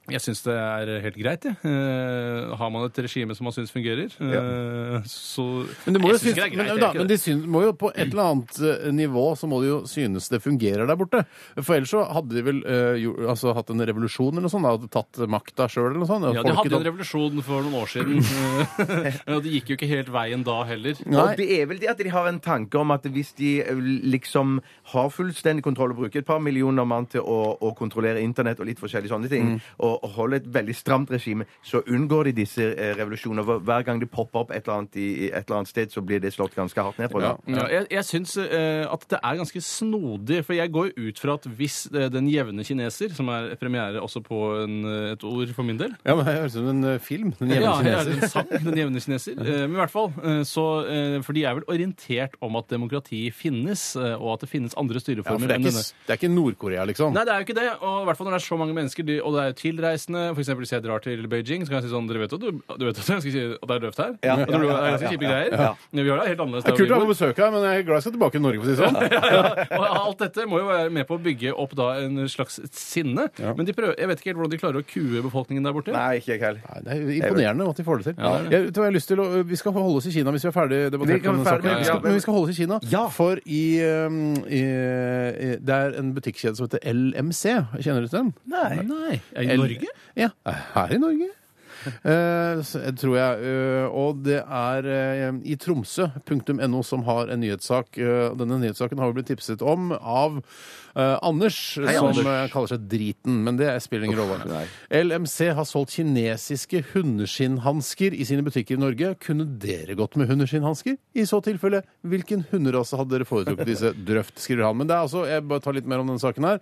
jeg syns det er helt greit, jeg. Eh, har man et regime som man syns fungerer, eh, så
Men, det må
Jeg
jo
synes
synes,
ikke det er greit,
men,
jeg
da,
gjør ikke
men
det.
de syns, må jo på et eller annet eh, nivå så må de jo synes det fungerer der borte. For ellers så hadde de vel eh, jo, altså, hatt en revolusjon eller noe sånt, da, og tatt makta sjøl eller noe sånt. og
Ja, De
folket
hadde jo
da-
en revolusjon for noen år siden. eh, Og det gikk jo ikke helt veien da heller.
Nei.
Og det er vel det at de har en tanke om at hvis de eh, liksom har fullstendig kontroll og bruker et par millioner mann til å, å kontrollere internett og litt forskjellige sånne ting, og, og holder et veldig stramt regime, så unngår de disse eh, revolusjoner. Hver- Hver gang det popper opp et eller annet i, i et eller annet sted, så blir det slått ganske hardt ned på. da.
Ja, jeg jeg syns eh, at det er ganske snodig, for jeg går jo ut fra at hvis eh, den jevne kineser, som er premiere også på en, eh, et ord for min del
Ja, men det høres ut som en eh, film. Den jevne
ja,
kineser.
en sang, Den jevne kineser. Eh, Men i hvert fall, eh, så, eh, For de er vel orientert om at demokrati finnes, eh, og at det finnes andre
Ja, for
styreformer
det er
enn
ikke,
denne.
det er ikke Nord-Korea, liksom.
Nei, det er jo ikke det. Og i hvert fall når det er så mange mennesker, de, og det er tilreisende For eksempel hvis jeg drar til Beijing, så kan jeg si sånn Dere vet at, du, du vet at, jeg skal si at det er døvt her?
Ja,
Jeg tror
ja,
det
ja,
er ganske
ja,
kjipe
ja, ja.
greier. Men Vi har det helt annerledes
Det er kult å
der
ha
vi
på besøk her, men jeg er glad jeg skal tilbake til Norge, for å si det sånn.
Og alt dette må jo være med på å bygge opp da en slags sinne. Men de prøver, jeg vet ikke helt hvordan de klarer å kue befolkningen der borte.
Nei, ikke jeg heller.
Nei, det er jo imponerende at de får det til. jeg, vet du hva jeg har lyst til å, vi skal holde oss i Kina hvis vi er ferdig
Vi
debattert.
kan
om denne
være ferdig,
saken.
ja.
Vi skal- Men vi skal holde oss i Kina,
Ja.
for i, um, i, i Det er en butikkjede som heter LMC. Kjenner du til den?
Nei. Er det
L-
Norge?
Ja. Her i Norge. Eh, så- tror jeg. Eh, og det er eh, i tromsø.no som har en nyhetssak. Eh, denne nyhetssaken har vi blitt tipset om av eh, Anders, som
Anders.
eh, kaller seg Driten. Men det spiller ingen rolle. LMC har solgt kinesiske hundeskinnhansker i sine butikker i Norge. Kunne dere gått med hundeskinnhansker? I så tilfelle, hvilken hunderase hadde dere foretrukket disse? Drøft, skriver han. Men det er altså, jeg bare tar litt mer om denne saken her.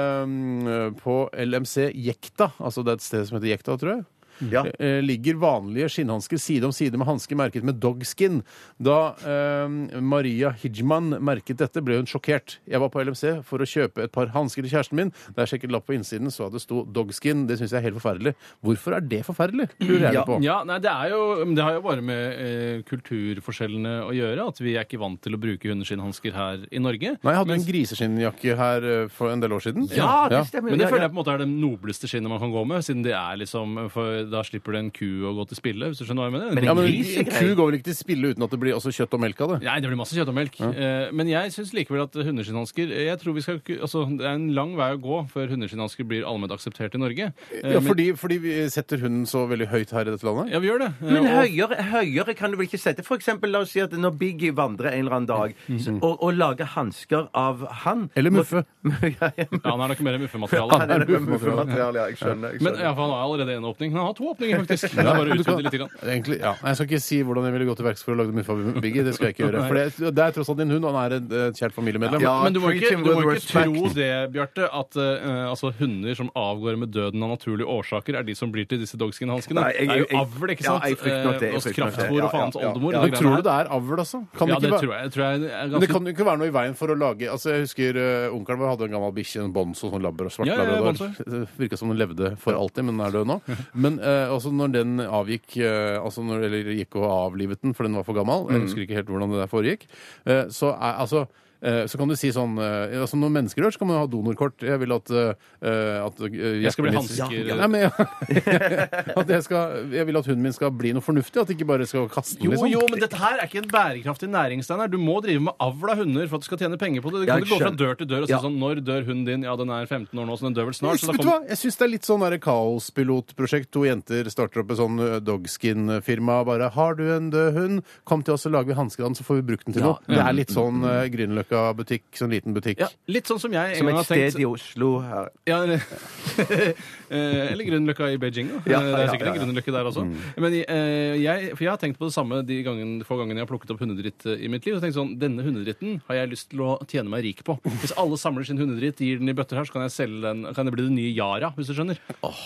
Eh, på LMC Jekta, altså det er et sted som heter Jekta, tror jeg.
Ja.
Eh, ligger vanlige skinnhansker side om side med hansker merket med dogskin. Da eh, Maria Hijman merket dette, ble hun sjokkert. Jeg var på LMC for å kjøpe et par hansker til kjæresten min. Da jeg sjekket lapp på innsiden, så at det sto dogskin. Det syns jeg er helt forferdelig. Hvorfor er det forferdelig? Lurer jeg
Ja.
på.
Ja, nei, det, er jo, men det har jo bare med eh, kulturforskjellene å gjøre. At vi er ikke vant til å bruke hundeskinnhansker her i Norge.
Nei, jeg hadde en griseskinnjakke her eh, for en del år siden.
Ja, Ah, det stemmer.
Men det
Ja,
føler
ja.
jeg på en måte er det nobleste skinnet man kan gå med, siden det er liksom For da slipper det en ku å gå til spille, hvis du skjønner hva jeg mener.
Ja, men
Gris er
en ku går vel ikke til spille uten at det blir også kjøtt og melk av det?
Nei, det blir masse kjøtt og melk. Eh, Men jeg syns likevel at hundeskinnhansker eh, Jeg tror vi skal ikke- Altså, det er en lang vei å gå før hundeskinnhansker blir allment akseptert i Norge. Eh,
Ja,
men-
fordi, fordi vi setter hunden så veldig høyt her i dette landet?
Ja, vi gjør det. Eh,
Men
og-
høyere, høyere kan du vel ikke sette? For eksempel, la oss si at når Biggie vandrer en eller annen dag, så, og, og lager hansker av han
Eller muffe.
Ja, ja,
Ja, han er nok mer muffemateriale.
Han er muffemateriale, ja. Jeg skjønner. Jeg
Men
skjønner.
ja, for han har allerede en åpning. Han har to åpninger, faktisk. Det er bare å
Du kan-
utvide litt. Grann.
Egentlig, ja. Nei, Jeg skal ikke si hvordan jeg ville gått til verks for å lage muffabiggie. Det skal jeg ikke gjøre. For det, det er tross alt din hund, og han er et eh, kjært familiemedlem.
Ja.
Men du må
treat
ikke,
him
du
with
må ikke
respect.
tro det, Bjarte, at eh, altså, hunder som avgår med døden av naturlige årsaker, er de som blir til disse dogskin-hanskene.
Nei, jeg-
Det er
jeg-
jo avl, ikke
ja,
sant?
jeg frykter nok det, jeg
Eh, og
frykter nok det.
kraftfôr og
Ja, ja,
faens
ja, ja.
oldemor.
Ja,
og
Men
de
tror
greiene
du det er avl, altså? Kan
her. Ja,
det
det
ikke være
tror jeg. jeg, tror jeg er
Men det
ganske...
kan jo ikke være noe i veien for å lage altså Jeg husker eh, onkelen vår hadde en gammel bikkje, en bonzo, sånn labber, svart
Ja, ja, ja,
labrador. Det Virka som den levde for alltid, men den er død nå. Men eh, altså når den avgikk eh, altså når, Eller gikk og avlivet den, for den var for gammel,
Mm.
jeg husker ikke helt hvordan det der foregikk, eh, så er altså eh, så kan du si sånn eh, altså Når mennesker dør, så kan man jo ha donorkort. Jeg vil at, eh, at eh,
Jeg skal bli
hjertet mitt-
hansker.
Nei, men jeg, at jeg, skal, jeg vil at hunden min skal bli noe fornuftig, at jeg ikke bare skal kaste den.
Jo,
liksom.
jo, men dette her er ikke en bærekraftig næring, Steinar. Du må drive med avl av hunder for at du skal tjene penger på det. Du kan
Jeg
ikke gå fra
skjønner.
dør til dør og si
Ja.
sånn Når dør hunden din? Ja, den er 15 år nå, så den dør vel snart. Så da
Vet du hva?
kommer...
Jeg syns det er litt sånn der kaospilotprosjekt. To jenter starter opp et sånn ø, dogskin-firma. Bare 'Har du en død hund? Kom til oss, så lager vi hansker av den, så får vi brukt den til noe'. Det er litt sånn ø, Grünerløkka-butikk. Sånn liten butikk.
Mm. Ja, litt sånn som jeg en
Som
gang
et
har
sted
tenkt
i Oslo her.
Ja, eller eh, eller Grünerløkka i Beijing. Da.
Ja,
det
ja,
er sikkert
ja,
en
ja. Mm.
Grünerløkke der også. Men eh, jeg, for jeg har tenkt på det samme de gangen, få gangene jeg har plukket opp hundedritt eh, i mitt liv. Og tenkt sånn, Denne hundedritten har jeg lyst til å tjene meg rik på. Hvis alle samler sin hundedritt, gir den i bøtter her, så kan jeg selge den, kan det bli det nye Yara, hvis du skjønner.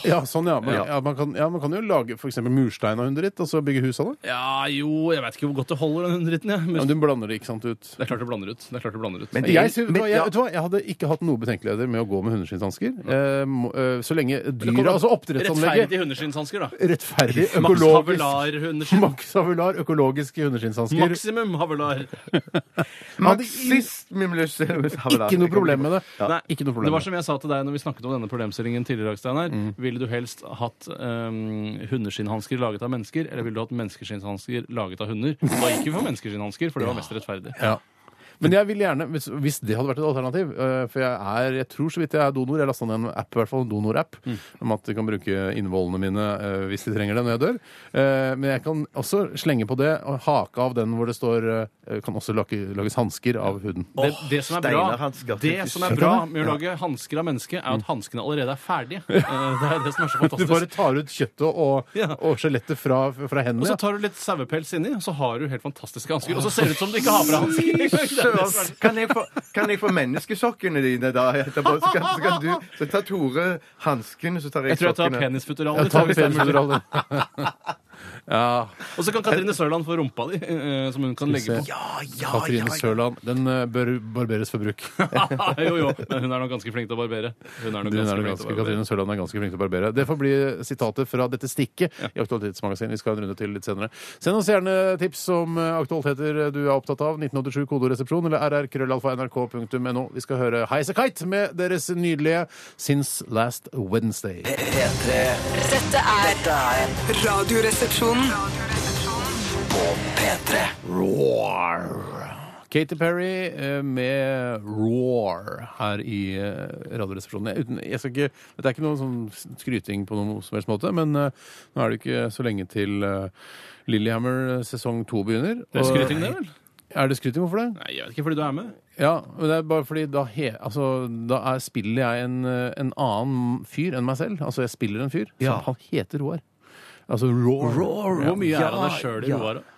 Ja, sånn, ja. Men,
Ja.
ja, man, kan, ja man kan jo lage f.eks. murstein av hunderitt, og så bygge hus av det.
Ja, jo, jeg veit ikke hvor godt det holder, den hundedritten. jeg.
Ja,
Men
men du blander det ikke sant ut.
Det er klart du blander ut. Det er klart du blander ut.
Men-
Jeg, synes-
Men-
vet du hva, jeg,
ja.
vet du hva, jeg hadde ikke hatt noe betenkeligheter med å gå med hundeskinnshansker. Eh, må- eh, så lenge dyra, altså oppdrettsanlegget
Rettferdig hundeskinnshansker, da.
Rettferdig,
Max
økologisk
Havelar-hundeskinn.
Max Havular, økologiske hundeskinnshansker.
Maksimum Havelar.
Marxist, mimlus.
Ikke noe problem med Mm. det.
Nei,
Ikke noe problem.
Det var som jeg sa til deg når vi snakket om denne problemstillingen tidligere. i dag, Steinar. Ville du helst hatt um, hundeskinnhansker laget av mennesker, eller ville du hatt menneskeskinnhansker laget av hunder? Da gikk vi for menneskeskinnhansker, for det var mest rettferdig.
Ja. Men jeg vil gjerne, hvis, hvis det hadde vært et alternativ eh, For jeg er, jeg tror så vidt jeg er donor. Jeg lasta ned en app, i hvert fall en donor-app, om at de kan bruke innvollene mine eh, hvis de trenger det når jeg dør. Eh, men jeg kan også slenge på det og hake av den hvor det står eh, Kan også lage, lages hansker av huden.
Det, det, som er bra,
Steinar-hansker.
det som er bra med å lage hansker av mennesket, er at hanskene allerede er ferdige. Eh, Det er det som er så
Du bare
fantastisk.
tar ut kjøttet og,
Ja.
og skjelettet fra, fra
Og
hendene.
så tar du litt sauepels inni, og så har du helt fantastiske hansker. Og så ser det ut som du ikke har på deg hansker. Det er det som er så-
Kan jeg, få, kan jeg få menneskesokkene dine da etterpå? Så kan, så kan du Så tar Tore hanskene, så tar jeg,
Jeg tror jeg tar
sokkene.
penisfutteral.
Ja,
det
ta
tror jeg hvis det er mulig.
pensural, du. ja.
Og så kan Katrine Sørland få rumpa di, eh, som hun kan legge på.
Ja, ja, ja,
Katrine Sørland. Den eh, bør barberes for bruk.
jo, jo. Men hun er nok ganske flink til å barbere. Hun er nok
Hun er
ganske
nok ganske,
flink til å barbere.
Katrine Sørland er ganske flink til å barbere. Det får bli sitatet fra dette stikket i Aktualitetsmagasinet. Vi skal ha en runde til litt senere. Send oss gjerne tips om eh, aktualiteter du er opptatt av. 1987 kodoresepsjon eller rrkrøllalfa.nrk.no. Vi skal høre Highasakite med deres nydelige Since Last Wednesday.
P3. Dette er Radioresepsjonen. P3.
Roar. Katy Perry eh, med Roar her i eh, Radioresepsjonen. Jeg, uten, jeg skal ikke, dette er ikke noe sånn skryting på noen som helst måte, men eh, nå er det ikke så lenge til eh, Lillehammer eh, sesong to begynner.
Det er
og-
skryting, det, vel?
Er det skryting? Hvorfor det?
Nei, jeg vet ikke, fordi du er med.
Ja, men det er bare fordi da, he, altså, da er, spiller jeg en, eh, en annen fyr enn meg selv. Altså, jeg spiller en fyr.
Ja.
som han heter Roar. Altså Roar.
Hvor mye er av deg
Ja,
sjøl i
ja.
Roar? da?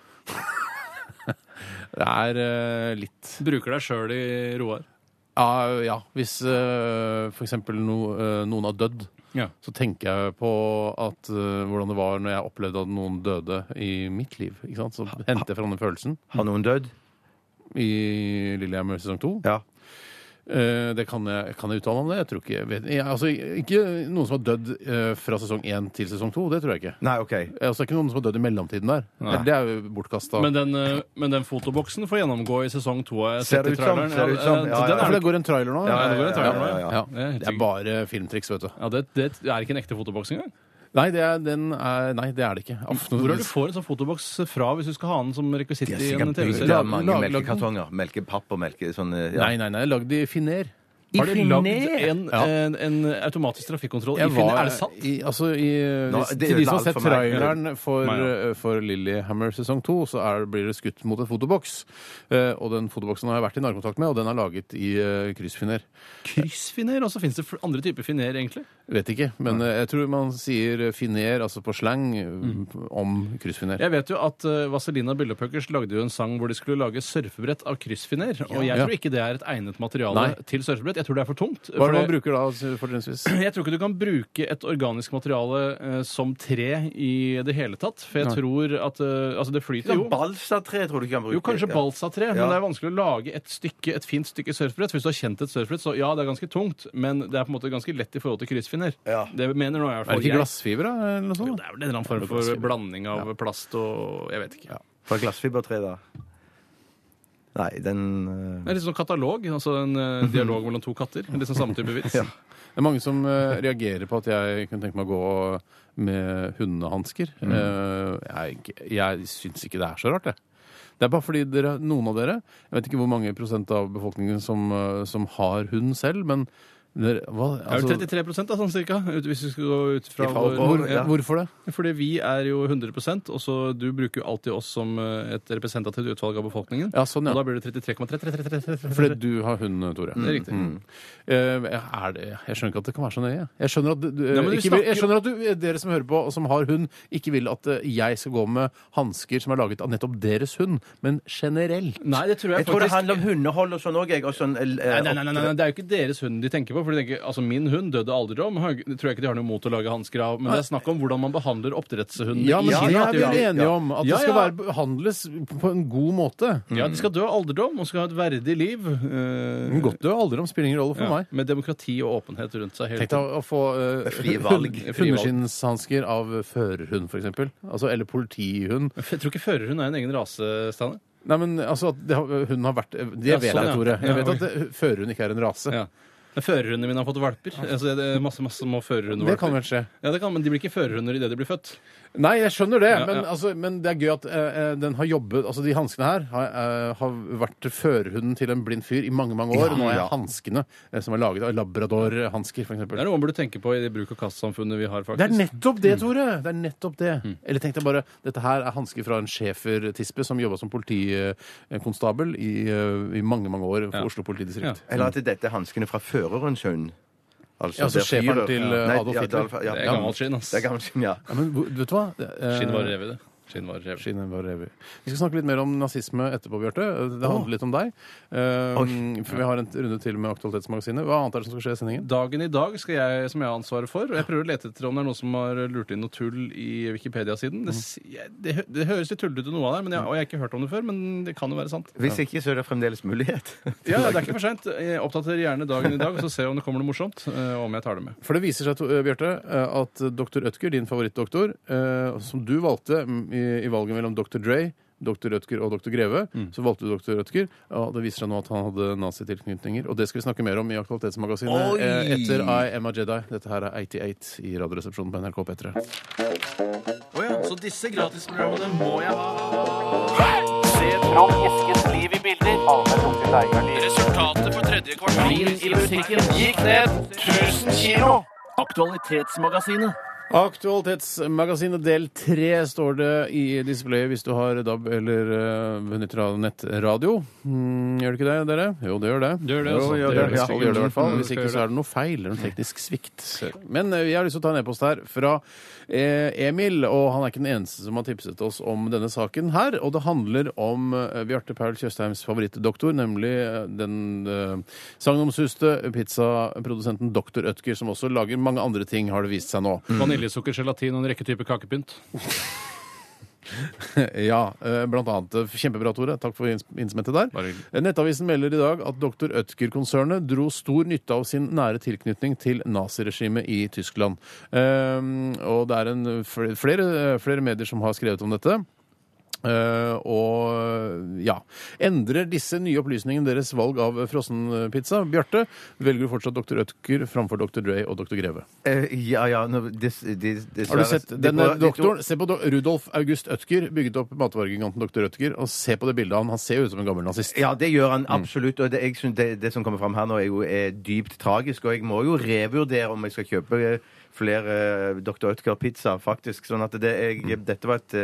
Det er eh, litt
Bruker deg sjøl i Roar.
Ja, ja. hvis uh, f.eks. No, eh, noen har dødd,
Ja.
så tenker jeg på at, eh, hvordan det var når jeg opplevde at noen døde i mitt liv. Ikke sant? Så henter jeg fram den følelsen
Har noen dødd?
i Lillehammer sesong to.
Ja.
Eh, det kan jeg, kan jeg uttale meg om det? Jeg tror ikke, jeg vet, jeg, altså, ikke noen som har dødd eh, fra sesong én til sesong to. Det tror jeg ikke.
Nei, OK.
Altså, det er ikke noen som har dødd i mellomtiden der. Det er jo bortkasta.
Men, den, eh, men den fotoboksen får gjennomgå i sesong to. har Jeg
Ser
sett i
det ut som,
traileren.
ser det ut som.
eh,
Ja, ja,
den
Ja,
er
for
nok-
det går en trailer nå?
ja, det går en trailer nå, ja.
ja.
Ja,
Det er helt
Det er
sikkert.
bare filmtriks, vet du.
ja, det, det er ikke en ekte fotoboks engang.
Nei, det er, den er, nei, det er det ikke. Aften-
Hvor er det du får en sånn fotoboks fra hvis du skal ha den som rekvisitt
De har
i en
sikkert bygd
TV-serie?
av mange
Lag- lag-
melkekartonger. Melkepapp og melke sånn ja.
Nei, nei, nei. Lagd i Finer.
Har de lagd
Finner?
en,
Ja.
en, en automatisk trafikkontroll i Finner? Er det sant?
I, altså, i,
Nå,
hvis,
det
til de
ødela
som
alt
har sett
for meg.
traileren for,
Meg, ja.
eh, for Lillehammer sesong 2, så er, blir det skutt mot en fotoboks. Eh, og den fotoboksen har jeg vært i nærkontakt med, og den er laget i eh, kryssfiner.
Kryssfiner? Og så fins det fl- andre typer finer, egentlig.
Vet ikke, men eh, jeg tror man sier finer, altså på slang, eh, om kryssfiner.
Mm. Jeg vet jo at eh, Vazelina Byllepøkkers lagde jo en sang hvor de skulle lage surfebrett av kryssfiner. Og jeg
Ja.
tror ikke det er et egnet materiale
Nei.
til surfebrett. Jeg tror det er for tungt.
Hva er det
for
man bruker da, altså, fortrinnsvis?
Jeg tror ikke du kan bruke et organisk materiale eh, som tre i det hele tatt. For jeg tror at eh, Altså, det flyter jo.
Balsatre tror du ikke han bruker.
Jo, kanskje
Ja.
balsatre, men
Ja.
det er vanskelig å lage et stykke, et fint stykke surfbrett. Hvis du har kjent et surfbrett, så ja, det er ganske tungt, men det er på en måte ganske lett i forhold til kryssfinner.
Ja.
Det mener nå i hvert
Er
fall
det ikke
jeg.
glassfiber, da? Eller noe
Jo,
sånt?
det er vel en eller annen form for blanding av plast og Jeg vet ikke.
Fra glassfibertre, da. Nei, den eh,
Det er litt sånn katalog, altså en
Mhm.
eh, dialog mellom to katter. Litt sånn samme type vits.
Det er mange som eh, reagerer på at jeg kunne tenke meg å gå med hundehansker. Eh, jeg jeg syns ikke det er så rart, det. Det er bare fordi dere, noen av dere Jeg vet ikke hvor mange prosent av befolkningen som, eh, som har hund selv, men dere, hva,
Det er
altså,
jo 33 da, sånn cirka, ut- hvis vi skal gå ut fra
I forhold-
vår,
hvor,
ja.
Hvorfor det?
Fordi vi er jo 100 og så du bruker jo alltid oss som eh, et representativt utvalg av befolkningen.
Ja, sånn,
Og da
ja.
blir det 33,333.
Fordi du har hund, Tore.
Det er riktig.
Eh, er det, jeg skjønner ikke at det kan være så nøye. Jeg skjønner at, du,
Nei, men vi
ikke vil, jeg
snakker-
skjønner at du, dere som hører på og som har hund, ikke vil at eh, jeg skal gå med hansker som er laget av nettopp deres hund, men generelt.
Nei, det tror jeg,
Jeg tror det
faktisk
handler om hundehold og sånn òg, jeg. Og sånn, eh,
Nei, nei, nei, nei, nei, Det er jo ikke deres hund de tenker på. For de tenker, altså Min hund døde aldri om. har- Det tror jeg ikke de har noe imot å lage hansker av. Men det er snakk om hvordan man behandler oppdrettshundene.
Ja, men
i sin
det er vi
natur.
jo enige om. At
Ja,
det skal
ja.
være behandles på en god måte.
Ja, De skal dø av alderdom og skal ha et verdig liv. eh,
Men Mm. Godt du er alderdom, spiller ingen rolle for
ja,
meg.
Med demokrati og åpenhet rundt seg. hele
Tenk deg å- å få eh,
Frie valg.
hund- hundeskinnshansker av førerhund, f.eks. Altså, eller politihund.
tiden. Jeg tror ikke førerhund er en egen rase, Steinar.
Nei, men altså at det, har- hun har vært Det
Ja,
vet
sånn,
jeg,
ja.
Tore.
Ja,
Jeg vet
ok.
at det- førerhund ikke er en rase.
Ja. Men Førerhundene mine har fått valper. Altså, det er masse, masse små førerhundvalper.
Det kan vel skje.
Ja, det kan, men de blir ikke førerhunder idet de blir født.
Nei, jeg skjønner det,
Ja,
men,
ja.
Altså, men det er gøy at eh, eh, den har jobbet Altså, de hanskene her har, eh, har vært førerhunden til en blind fyr i mange, mange år. og Nå er
ja.
hanskene eh, som er laget av labradorhansker, f.eks.
Det er Mm. noe man burde tenke på i det bruk- og kastsamfunnet vi har. faktisk.
Det er nettopp det, Tore! Det er nettopp det.
Mm.
Eller tenk deg bare, dette her er hansker fra en schæfertispe som jobba som politikonstabel i, eh, i mange, mange år for
Ja.
Oslo politidistrikt.
Eller at dette er hanskene fra førerens hund.
Ja, altså
det er
schæferen
fyrer.
til, eh,
Nei,
Adolf
ja,
Hitler.
Adolf- ja.
Det er gammelt skinn, ass.
Det er gammelt skinn, ja.
Ja, men hvor- vet du hva? Det, eh,
Skinn var rev i det. Skinn var rev.
Skinn var rev i. Vi skal snakke litt mer om nazisme etterpå, Bjarte. Det handler litt om deg. Eh, for vi har en runde til med Aktualitetsmagasinet. Hva annet er det som skal skje i sendingen?
Dagen i dag skal jeg, som jeg har ansvaret for. Og jeg prøver å lete etter om det er noen som har lurt inn noe tull i Wikipedia-siden.
Mm.
Det, s- jeg- det, hø- det høres litt tullete ut noe av det, her, men jeg, og jeg har ikke hørt om det før. Men det kan jo være sant.
Hvis ikke, så er det fremdeles mulighet.
Ja, Det er ikke for seint. Jeg oppdaterer gjerne dagen i dag, og så ser jeg om det kommer noe morsomt. eh, Og om jeg tar det med.
For det viser seg, to- eh, Bjarte, eh, at dr. Ødker, din favorittdoktor, eh, som du valgte mm, i, i valget mellom dr. Dre, dr. Ødker og dr. Greve, så valgte du dr. Ødker. Og det viser seg nå at han hadde nazitilknytninger. Og det skal vi snakke mer om i Aktualitetsmagasinet eh, etter I Am a Jedi. Dette her er 88 i Radioresepsjonen på NRK P3.
Så disse gratisprogrammene må jeg ha. Resultatet på tredje kvartal i musikken gikk ned 1000 kilo. Aktualitetsmagasinet.
Aktualitetsmagasinet del 3 står det i displayet hvis du har DAB eller eh, benytter av nettradio. Mm, gjør det ikke det, dere? Jo, det gjør det.
Det gjør det,
Jo, gjør
altså. Det
det,
gjør det.
Alle gjør det i hvert fall.
Mm,
Hvis
skal
ikke
gjøre
så er det noe feil eller en teknisk svikt. Men eh, jeg har lyst til å ta en e-post her fra eh, Emil, og han er ikke den eneste som har tipset oss om denne saken her. Og det handler om eh, Bjarte Paul Tjøstheims favorittdoktor, nemlig eh, den eh, sagnomsuste pizzaprodusenten Doktor Ødker, som også lager mange andre ting, har det vist seg nå.
Vaniljesukker, gelatin og en rekke typer kakepynt.
Ja, eh, blant annet. eh, Kjempebra, Tore. Takk for inns- innsmettet der.
Bare hyggelig.
Eh, Nettavisen melder i dag at dr. Ødker-konsernet dro stor nytte av sin nære tilknytning til naziregimet i Tyskland. Eh, Og det er en, fl- flere, flere medier som har skrevet om dette. Eh, og ja Endrer disse nye opplysningene deres valg av frossenpizza? Bjarte, velger du fortsatt dr. Ødker framfor dr. Dre og dr. Greve?
Eh, ja, ja nå, dis- dis-
Har du
dessverre-
sett
de
denne
prøver- de tror-
doktoren? Se på do Rudolf August Ødker, bygget opp matvaregiganten Dr. Ødker, og se på det bildet av han. Han ser jo ut som en gammel nazist.
Ja, det gjør han absolutt. Og det, jeg synes det, det som kommer fram her nå, er jo er dypt tragisk. Og jeg må jo revurdere om jeg skal kjøpe eh, flere eh, Dr. Ødgar-pizzaer, faktisk. Sånn at det, jeg, dette var et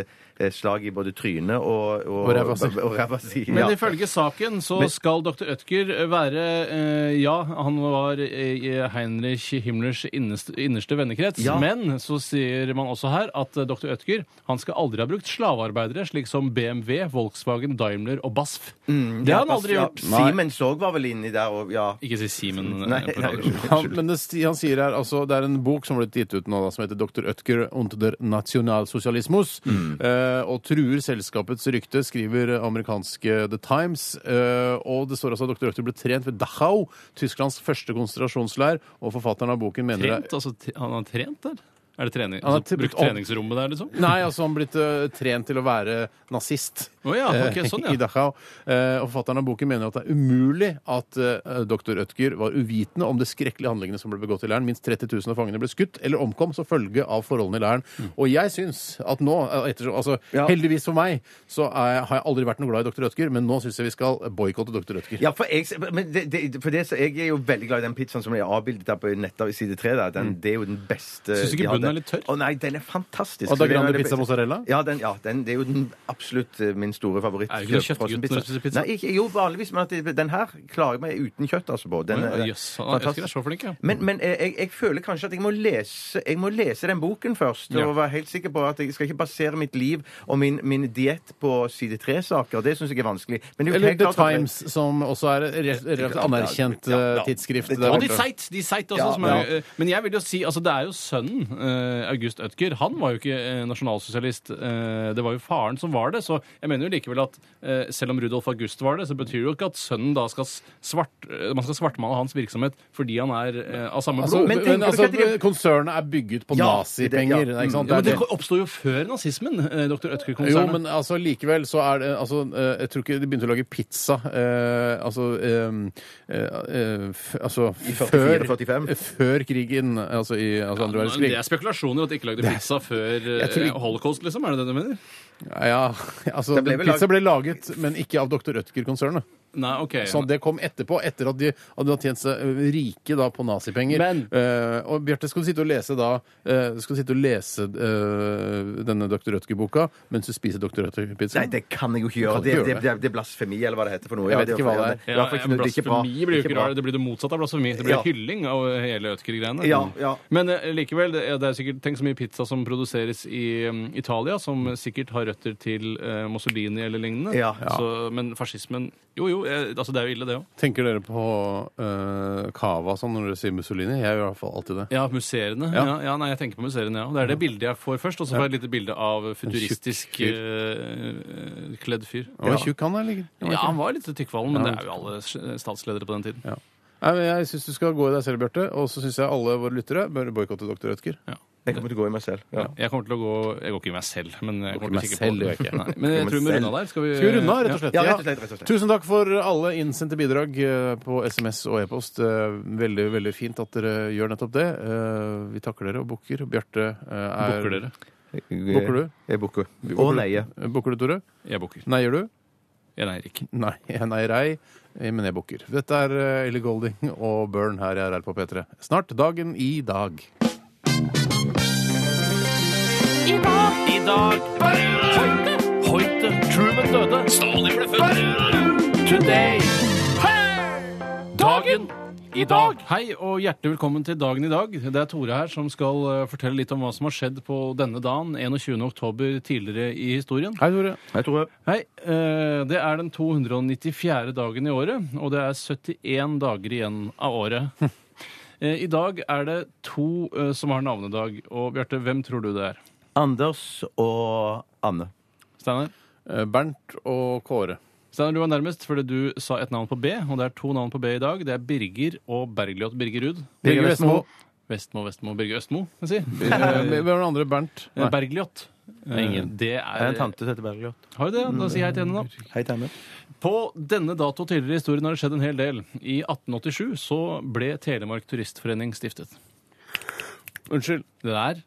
eh, slag i både trynet og
Og ræva si.
og ræva si.
Men
ja.
ifølge saken så skal dr. Ødker være eh, Ja, han var eh, i Heinrich Himmlers innerste, innerste vennekrets.
Ja.
Men så sier man også her at eh, dr. Ødker han skal aldri ha brukt slavearbeidere slik som BMW, Volkswagen, Daimler og BASF. det har han aldri
ja,
gjort.
Siemens òg var vel inni der, og ja.
Ikke si Simen. eh,
Nei,
på
nei,
radio.
Han, men det, sti- han sier her, altså, det er en bok som har blitt gitt ut nå, da, som heter 'Dr. Ødker und der Nationalsocialismus',
Mm.
eh, og truer selskapets rykte, skriver amerikanske The Times. Eh, og det står altså at dr. Ødker ble trent ved Dachau, Tysklands første konsentrasjonsleir, og forfatteren av boken mener det-
Trent? Altså, t- han har trent der? Er det trening?
Han har
Altså,
tippet
brukt
opp.
treningsrommet der, liksom?
Nei, altså han har blitt eh, trent til å være nazist
Å ja, ok,
eh,
sånn, ja.
i Dachau. Eh, og forfatteren av boken mener at det er umulig at eh, dr. Ødger var uvitende om de skrekkelige handlingene som ble begått i leiren. Minst 30 000 av fangene ble skutt eller omkom som følge av forholdene i leiren. Og jeg syns at nå, eh, ettersom, altså
Mm. Ja.
heldigvis for meg, så er, jeg- har jeg aldri vært noe glad i dr. Ødger, men nå syns jeg vi skal boikotte dr. Ødger.
Ja, for jeg, men det, det, for det, så jeg er jo veldig glad i den pizzaen som er avbildet der på nettet i side 3. Der.
Mm.
Den, det er jo den beste
Syns du ikke
de hadde.
bunnen er litt tørr?
Å nei, den er fantastisk.
Og da
Så det er
Grande
en av de
pizza
beste-
mozzarella?
Ja, den, ja den, det er jo den absolutt eh, min store favoritt.
Er det ikke noe
frossenpizza.
kjøttgutt når du spiser pizza?
Nei, ikke, jo, vanligvis, men at det- den her klarer jeg meg uten kjøtt altså på. Den
Å ja,
er
Jøss, han er- Ødker er
fantastisk.
så flink, ja.
Men, men eh, jeg, jeg føler kanskje at jeg må lese, jeg må lese den boken først.
Ja.
Og være helt sikker på at jeg skal ikke basere mitt liv og min, min diett på side 3-saker. Det syns jeg er vanskelig. Men det er jo
Eller
helt
The
klart at jeg-
Times, som også er et re- relativt anerkjent
Ja, ja.
eh, tidsskrift.
Det-
der
Og
borte.
de seit, de seit også,
Ja,
som er, eh, Men jeg vil jo si, altså det er jo sønnen, eh, August Ødker, han var jo ikke eh, nasjonalsosialist. eh, det var jo faren som var det, så jeg mener jo likevel at eh, selv om Rudolf August var det, så betyr det jo ikke at sønnen da skal s- svart, eh, man skal svartmale hans virksomhet fordi han er eh, av samme
Altså,
blod.
men
Men,
tenker du
altså,
ikke at de-
konsernet er bygget på
Ja,
nazipenger.
det- ja.
ikke sant?
ja,
Det
men det
er det-
oppsto jo før nazismen, eh, dr.
jo,
Ødker-konsernet.
men altså, likevel så er det altså, eh, Jeg tror ikke de begynte å lage pizza eh, altså, eh, eh, f, altså før, eh,
44-45.
før krigen, altså i altså, andre
Men
verdenskrig.
Det er spekulasjoner at de ikke lagde pizza før eh,
Jeg tror ikke-
holocaust, liksom? Er det det du mener?
Ja, altså,
Det ble vel
pizza ble laget, men ikke av dr. Rødtger-konsernet.
Nei, ok.
Så det kom etterpå, etter at de hadde tjent seg ø, rike da, på nazipenger.
Men-
Eh, og Bjarte, skal du sitte og lese da eh, Skal du sitte og lese eh, denne Dr. Rødtger-boka mens du spiser Dr. Rødtger-pizza?
Nei, det kan jeg jo ikke gjøre.
Du kan
Det,
ikke
det,
gjøre
det, det er blasfemi, eller hva det heter for noe.
Jeg vet ikke hva det er.
i hvert fall ikke- det er ikke bra.
blasfemi blir jo
Ikke
ikke
bra.
rart. Det blir det motsatte av blasfemi. Det blir
Ja.
hylling av hele Ødker-greiene.
Ja, ja.
Men eh, likevel, det er det er sikkert tenk så mye pizza som produseres i mm, Italia, som sikkert har røtter til eh, Mussolini eller lignende.
Ja. Ja.
Så, men fascismen Jo, jo, eh, altså det er jo ille, det òg.
Tenker dere på eh, cava sånn når dere sier Mussolini? Jeg gjør i hvert fall alltid det.
Ja, musserende. Ja.
Ja.
Ja, nei, jeg tenker på musserende, ja. Det er det bildet jeg får først, og så får jeg et lite bilde av futuristisk
fyr.
eh, eh, kledd fyr.
Han var tjukk, han der. ligger- han var ikke
Ja,
det?
han var litt tykkvalen,
Ja.
men det er jo alle statsledere på den tiden.
Ja. Nei, men jeg syns du skal gå i deg selv, Bjarte. Og så syns jeg alle våre lyttere bør boikotte Dr. Rødtger.
Jeg kommer til å gå i meg selv. Ja.
Jeg kommer til å gå Jeg går ikke i meg selv, men jeg
Går
kommer
ikke i
til å
meg
kikke på
selv, det gjør jeg
Nei, Men jeg tror vi må runde av der. Skal vi,
Skal vi runde av, rett og slett?
Ja, rett og slett, rett og slett.
Tusen takk for alle innsendte bidrag eh, på SMS og e-post. Eh, Veldig veldig fint at dere gjør nettopp det. Eh, Vi takker dere og bukker. Bjarte eh,
Ja.
er
Bukker dere?
Bukker du?
Jeg bukker.
Bukker
Å
du?
nei. ja.
Eh, Bukker du, Tore?
Jeg bukker.
Neier du?
Jeg neier ikke.
Nei, jeg neier ei, eh, men jeg bukker. Dette er eh, Ellie Golding og Burn her i RR på P3. Snart dagen i dag.
I dag Hoite, Hoite, Truman døde. Stalin ble født. Today. Dagen i dag. Hei og hjertelig velkommen til Dagen i dag. Det er Tore her som skal eh, fortelle litt om hva som har skjedd på denne dagen, 21. oktober tidligere i historien.
Hei, Tore.
Jeg tror
Hei. eh, Det er den 294. dagen i året, og det er 71 dager igjen av året. Eh, I dag er det to eh, som har navnedag. Og Bjarte, hvem tror du det er?
Anders og Anne.
Steinar?
Eh, Bernt og Kåre.
Steinar, du var nærmest fordi du sa et navn på B, og det er to navn på B i dag. Det er Birger og Bergljot Birgerud.
Birger Vestmo.
Vestmo, Vestmo, Birger Østmo, kan jeg si.
Eh, Hvem er den andre? Bernt?
Eh, Bergljot. Eh, Det
Jeg
er
er en tante som heter Bergljot.
Har du det? Da sier jeg til henne, da.
Hei, Tanne.
På denne dato tidligere i historien har det skjedd en hel del. I 1887 så ble Telemark Turistforening stiftet.
Unnskyld.
Det der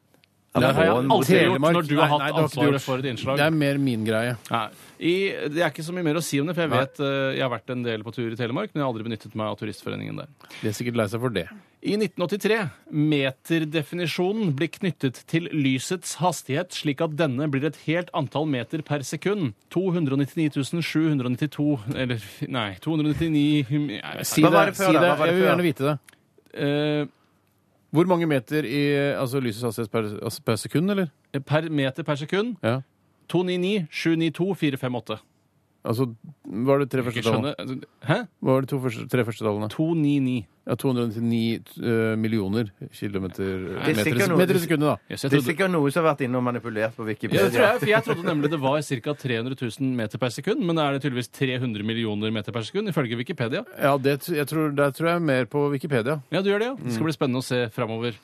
Det har jeg
Våren-
alltid gjort
Telemark.
når du
Nei,
har hatt
nei, det har ikke du gjort.
ansvaret for et innslag.
Det er mer min greie.
Nei. I, det er ikke så mye mer å si om det, for jeg vet eh, jeg har vært en del på tur i Telemark, men jeg har aldri benyttet meg av Turistforeningen der.
De er sikkert lei seg for det.
I 1983. Meterdefinisjonen blir knyttet til lysets hastighet, slik at denne blir et helt antall meter per sekund. 299 792 Eller nei 299 nei, jeg vet ikke.
Si
Hva
det.
var det før,
si
da?
det.
Hva var
Jeg vil
det før, da?
gjerne vite det.
Eh,
Hvor mange meter i altså, lysets hastighet per, altså, per sekund, eller?
eh, Per meter per sekund.
Ja.
299 792 458.
Altså, var det tre
Ikke
første tallene?
skjønner Hæ?
Var det to første, tre første tallene?
299.
Ja, 299 eh, millioner kilometer
Det er
meter,
sikkert noe-
meter i sekundet, da.
Jøss, jeg
Det er
trodde-
sikkert noe som har vært inne og manipulert på
Ja,
Wikipedia.
det tror jeg, for jeg trodde nemlig det var ca. 300 000 meter per sekund, men da er det tydeligvis 300 millioner meter per sekund, ifølge Wikipedia.
Ja, det, t- jeg tror, Der tror jeg mer på Wikipedia.
Ja, du gjør det, ja. Det
Mm.
skal bli spennende å se framover.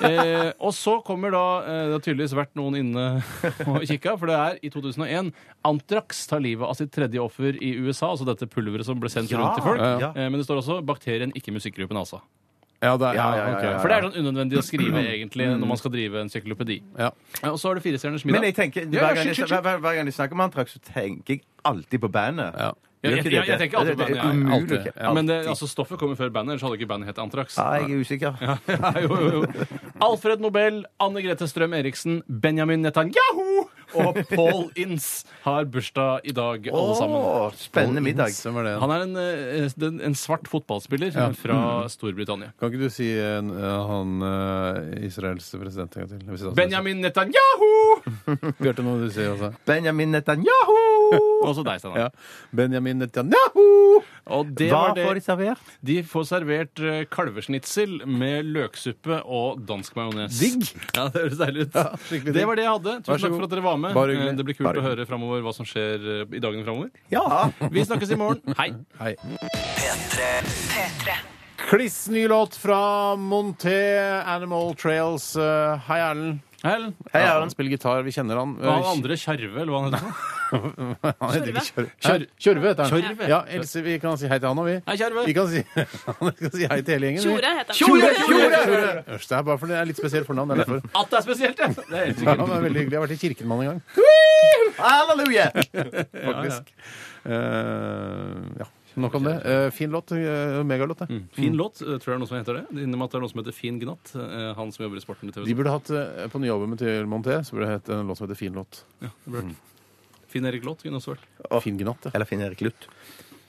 Eh, og så kommer da eh, Det har tydeligvis vært noen inne og kikka, for det er i 2001 Antrax tar livet av sitt tredje offer i USA, altså dette pulveret som ble sendt
Ja,
rundt til folk.
ja, ja.
Eh, men det står også 'bakterien, ikke musikkgruppen', altså.
Ja, det er,
Ja, ja, ja,
ok.
ja, ja. Mm.
For det er sånn unødvendig å skrive, egentlig, når man skal drive encyklopedi.
Ja.
Eh, og så har du Firestjerners
Men
middag.
jeg tenker,
Ja, ja,
hver gang
skyt,
jeg,
skyt,
hver, hver, hver gang jeg snakker om Antrax, så tenker jeg alltid på bandet.
Ja.
Ja,
Gjør
jeg-
ikke
jeg-
dere?
jeg tenker alltid på
Det- det er
bandet, ja,
umulig
alltid.
å ikke-
Ja,
Men det,
alltid.
altså, stoffet kommer før bandet, ellers hadde ikke bandet hett Antrax.
Ja, jeg er usikker.
Ja, jo, jo, jo. Alfred Nobel, Anne Grete Strøm Eriksen, Benjamin Netanyahu og Paul Ince har bursdag i dag, alle sammen.
Åh, spennende middag.
Hvem var det?
Han er en, eh, den- en svart fotballspiller fra
Mm.
Storbritannia.
Kan ikke du si eh, han eh, Israels president en gang til? Hvis det er-
Benjamin Netanyahu!
Bjarte, nå må du si også.
Benjamin Netanyahu!
Også deg, Steinar.
Ja. Benjamin Netanyahu!
Og det
Hva
var
får de
det.
servert?
De får servert eh, kalvesnitsel med løksuppe og dansk majones.
Digg!
Ja, det høres deilig ut.
Ja, skikkelig digg.
det var det jeg hadde.
Vær
Tusen
så
takk
god.
for at dere var med.
Bare hyggelig.
Eh, Det blir kult
Bare
å høre fremover hva som skjer eh, i dagene fremover.
Ja!
Vi snakkes i morgen. Hei!
Hei.
P3. P3.
Kliss ny låt fra Monté Animal Trails. Eh, Hei, Erlend.
Hei, Ellen.
Hei,
Ja,
Erlend.
han spiller gitar. Vi kjenner han.
Hva han andre? Kjerve, eller hva han heter?
Han heter ikke Kjørve.
Kjørve.
Hæ? Kjørve heter han.
Kjørve.
Ja, Else, vi kan si hei til han òg, vi.
Hei, Kjerve.
Vi kan si, vi kan si hei til hele gjengen. vi.
Tjore heter han.
Tjore!
Tjore! Ørs, Det er bare fordi det er litt spesielt fornavn. Det er derfor.
At det er spesielt, ja! Det er helt
Ja,
sikkert.
han er veldig hyggelig. Jeg har vært i kirken med han en gang,
Halleluja!
faktisk. Eh, ja. Nok om det. Eh, fin låt. eh, megalåt, det.
Fin låt, eh, tror jeg er noen som heter det. Det innebærer at det er noen som heter Fin Gnatt. eh, Han som jobber i sporten i TV.
De burde hatt eh, På nyalbumet til Monté så burde det hett en låt som heter Fin låt.
Ja, det burde vært. Finn Erik Låt kunne også vært.
Fin gnatt. ja.
Eller Finn-Erik Luth.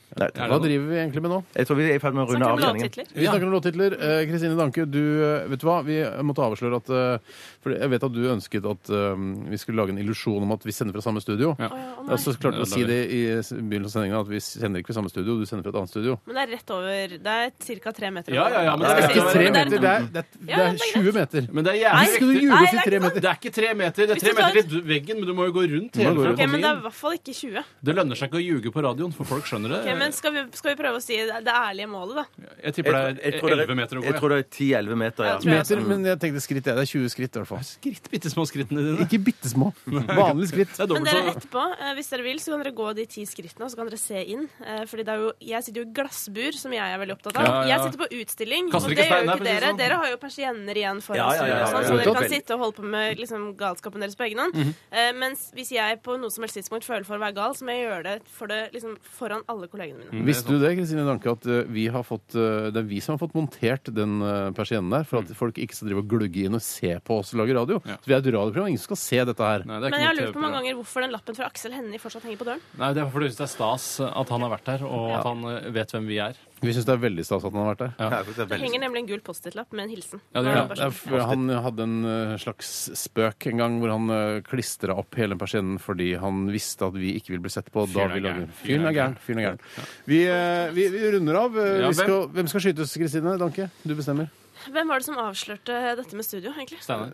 Nei,
Er det
Hva
noe?
driver vi egentlig med nå?
jeg tror vi er i ferd med å runde av
Snakker om
sendingen.
låttitler.
Vi snakker om låttitler. Eh, Kristine Danke, du, eh, vet du hva? vi måtte avsløre at eh, For jeg vet at du ønsket at eh, vi skulle lage en illusjon om at vi sender fra samme studio.
Ja.
Og
Å, nei.
så klarte du å
Ja,
si
det
det i s- begynnelsen av sendinga, at vi sender ikke fra samme studio, du sender fra et annet studio.
Men det er rett over Det er ca. tre meter.
Ja, ja, ja, men
over.
det er
Ikke
ja,
tre
men det
meter, det er, det er,
Ja,
det
ja,
er
det er
20 meter.
Men det er
Hvis
Nei,
jævlig
skal du
nei,
ljuge
det
til
er
tre
ikke
meter?
det er ikke tre meter, det er
Hvis
tre
du tar-
meter i veggen, men du må jo gå rundt hele
Du må gå
for å
rundt.
Ok,
komme
men det er
inn.
i hvert fall ikke 20.
Det lønner seg ikke å ljuge på radioen, for folk skjønner det.
Ok, men skal vi, skal vi prøve å si det, det ærlige målet, da?
Jeg tipper det
Jeg
er
tror- jeg tror det er-
11 meter å gå.
Jeg tror
Ja.
det er 10-11 meter, ja.
Jeg tror jeg-
Meter, men jeg tenkte skritt, jeg. Det er 20 skritt i hvert fall.
Skritt, bitte små skrittene dine.
Ikke bitte små. Vanlige skritt.
Det er
Men
dobbelt
dere
så
etterpå, eh, hvis dere vil, så kan dere gå de ti skrittene, og så kan dere se inn. Eh, Fordi det er jo, jeg sitter jo i glassbur, som jeg er veldig opptatt av.
Ja, ja.
Jeg sitter på utstilling,
Kaster
og
ikke
det gjør
stein
jo
der, for
ikke
å si det
dere.
sånn.
Dere har jo persienner igjen foran
Ja, ja, ja,
studio, og
ja,
sånn,
ja,
så
ja.
dere kan sitte og holde på med liksom, galskapen deres på egen hånd.
Mhm.
Eh, Mens hvis jeg på noe som helst tidspunkt føler for å være gal, så må jeg gjøre det, for det liksom, foran alle kollegene mine.
Visste du det, Kristine Danke, at eh, vi har fått, eh, det er vi som har fått montert den eh, persiennen der, for at folk ikke skal drive og glugge inn og se på oss lage radio?
Ja.
Så vi er et radioprogram, ingen skal se dette her.
Nei, det er ikke
Men jeg har
noe
lurt på mange
TV-program.
ganger hvorfor den lappen fra Aksel Hennie fortsatt henger på døren.
Nei, Det er fordi jeg synes det er stas at han har vært her, og at han eh, vet hvem vi er.
Vi syns det er veldig stas at han har vært der.
Ja, det er
Det
veldig-
henger nemlig en gul Post-It-lapp med en hilsen.
Ja, det gjør
Nå
det.
er bare
Det er,
sånn.
for han hadde en eh, slags spøk en gang hvor han uh, klistra opp hele persiennen fordi han visste at vi ikke ville bli sett på. Da
Fyren er
vi lagde-
gæren.
Fyren er gæren. Fyren er gæren. Vi, eh, vi, vi runder av. Eh,
Ja,
vi skal, hvem skal skytes, Kristine Danke? Du bestemmer.
Hvem var det som avslørte dette med studio, egentlig?
Steinar.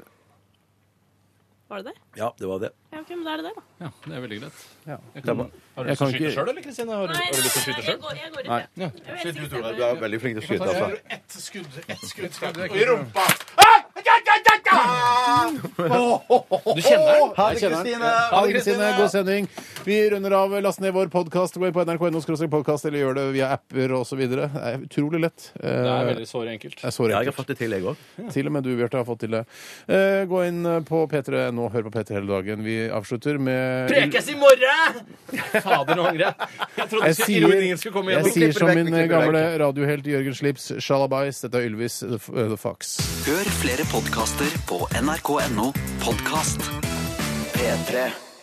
Var det det?
Ja, det var det.
Ja, ok, men da er det det, da.
Ja, det er veldig greit.
Ja.
Jeg kan, har du
Jeg
lyst til å
kan
skyte
ikke-
sjøl, eller, Kristine? Har, du-
Nei,
har du lyst til å skyte
jeg
sjøl?
går, jeg går ut,
Nei.
ja. Jeg vet ikke
Du er veldig flink til å skyte, altså.
Ett skudd, ett skudd, i rumpa.
Ah! Ja, ja, ja, ja!
han!
Du kjenner den?
Ha det,
Jeg kjenner den.
Kristine!
Ha det, Kristine. God sending. Vi runder av. Last ned vår podkast på nrk.no podkast, eller gjør det via apper osv. Det er utrolig lett.
Det er
Eh,
veldig såre enkelt.
Det er så
Ja, jeg har
enkelt.
fått det til, jeg òg.
Til og med du, Bjarte, har fått til det. Eh, Gå inn på P3 nå. Hør på P3 hele dagen. Vi avslutter med
Prekes i morgen! Fader, nå angrer jeg. Jeg trodde
Jeg
ikke
sier-
ironien skulle komme
Jeg
igjennom.
sier som
vekk,
min
vi klipper
gamle radiohelt Jørgen Slips, shalabais, dette er Ylvis The, F- uh, the Fox.
Hør flere podkaster på nrk.no podkast. P3.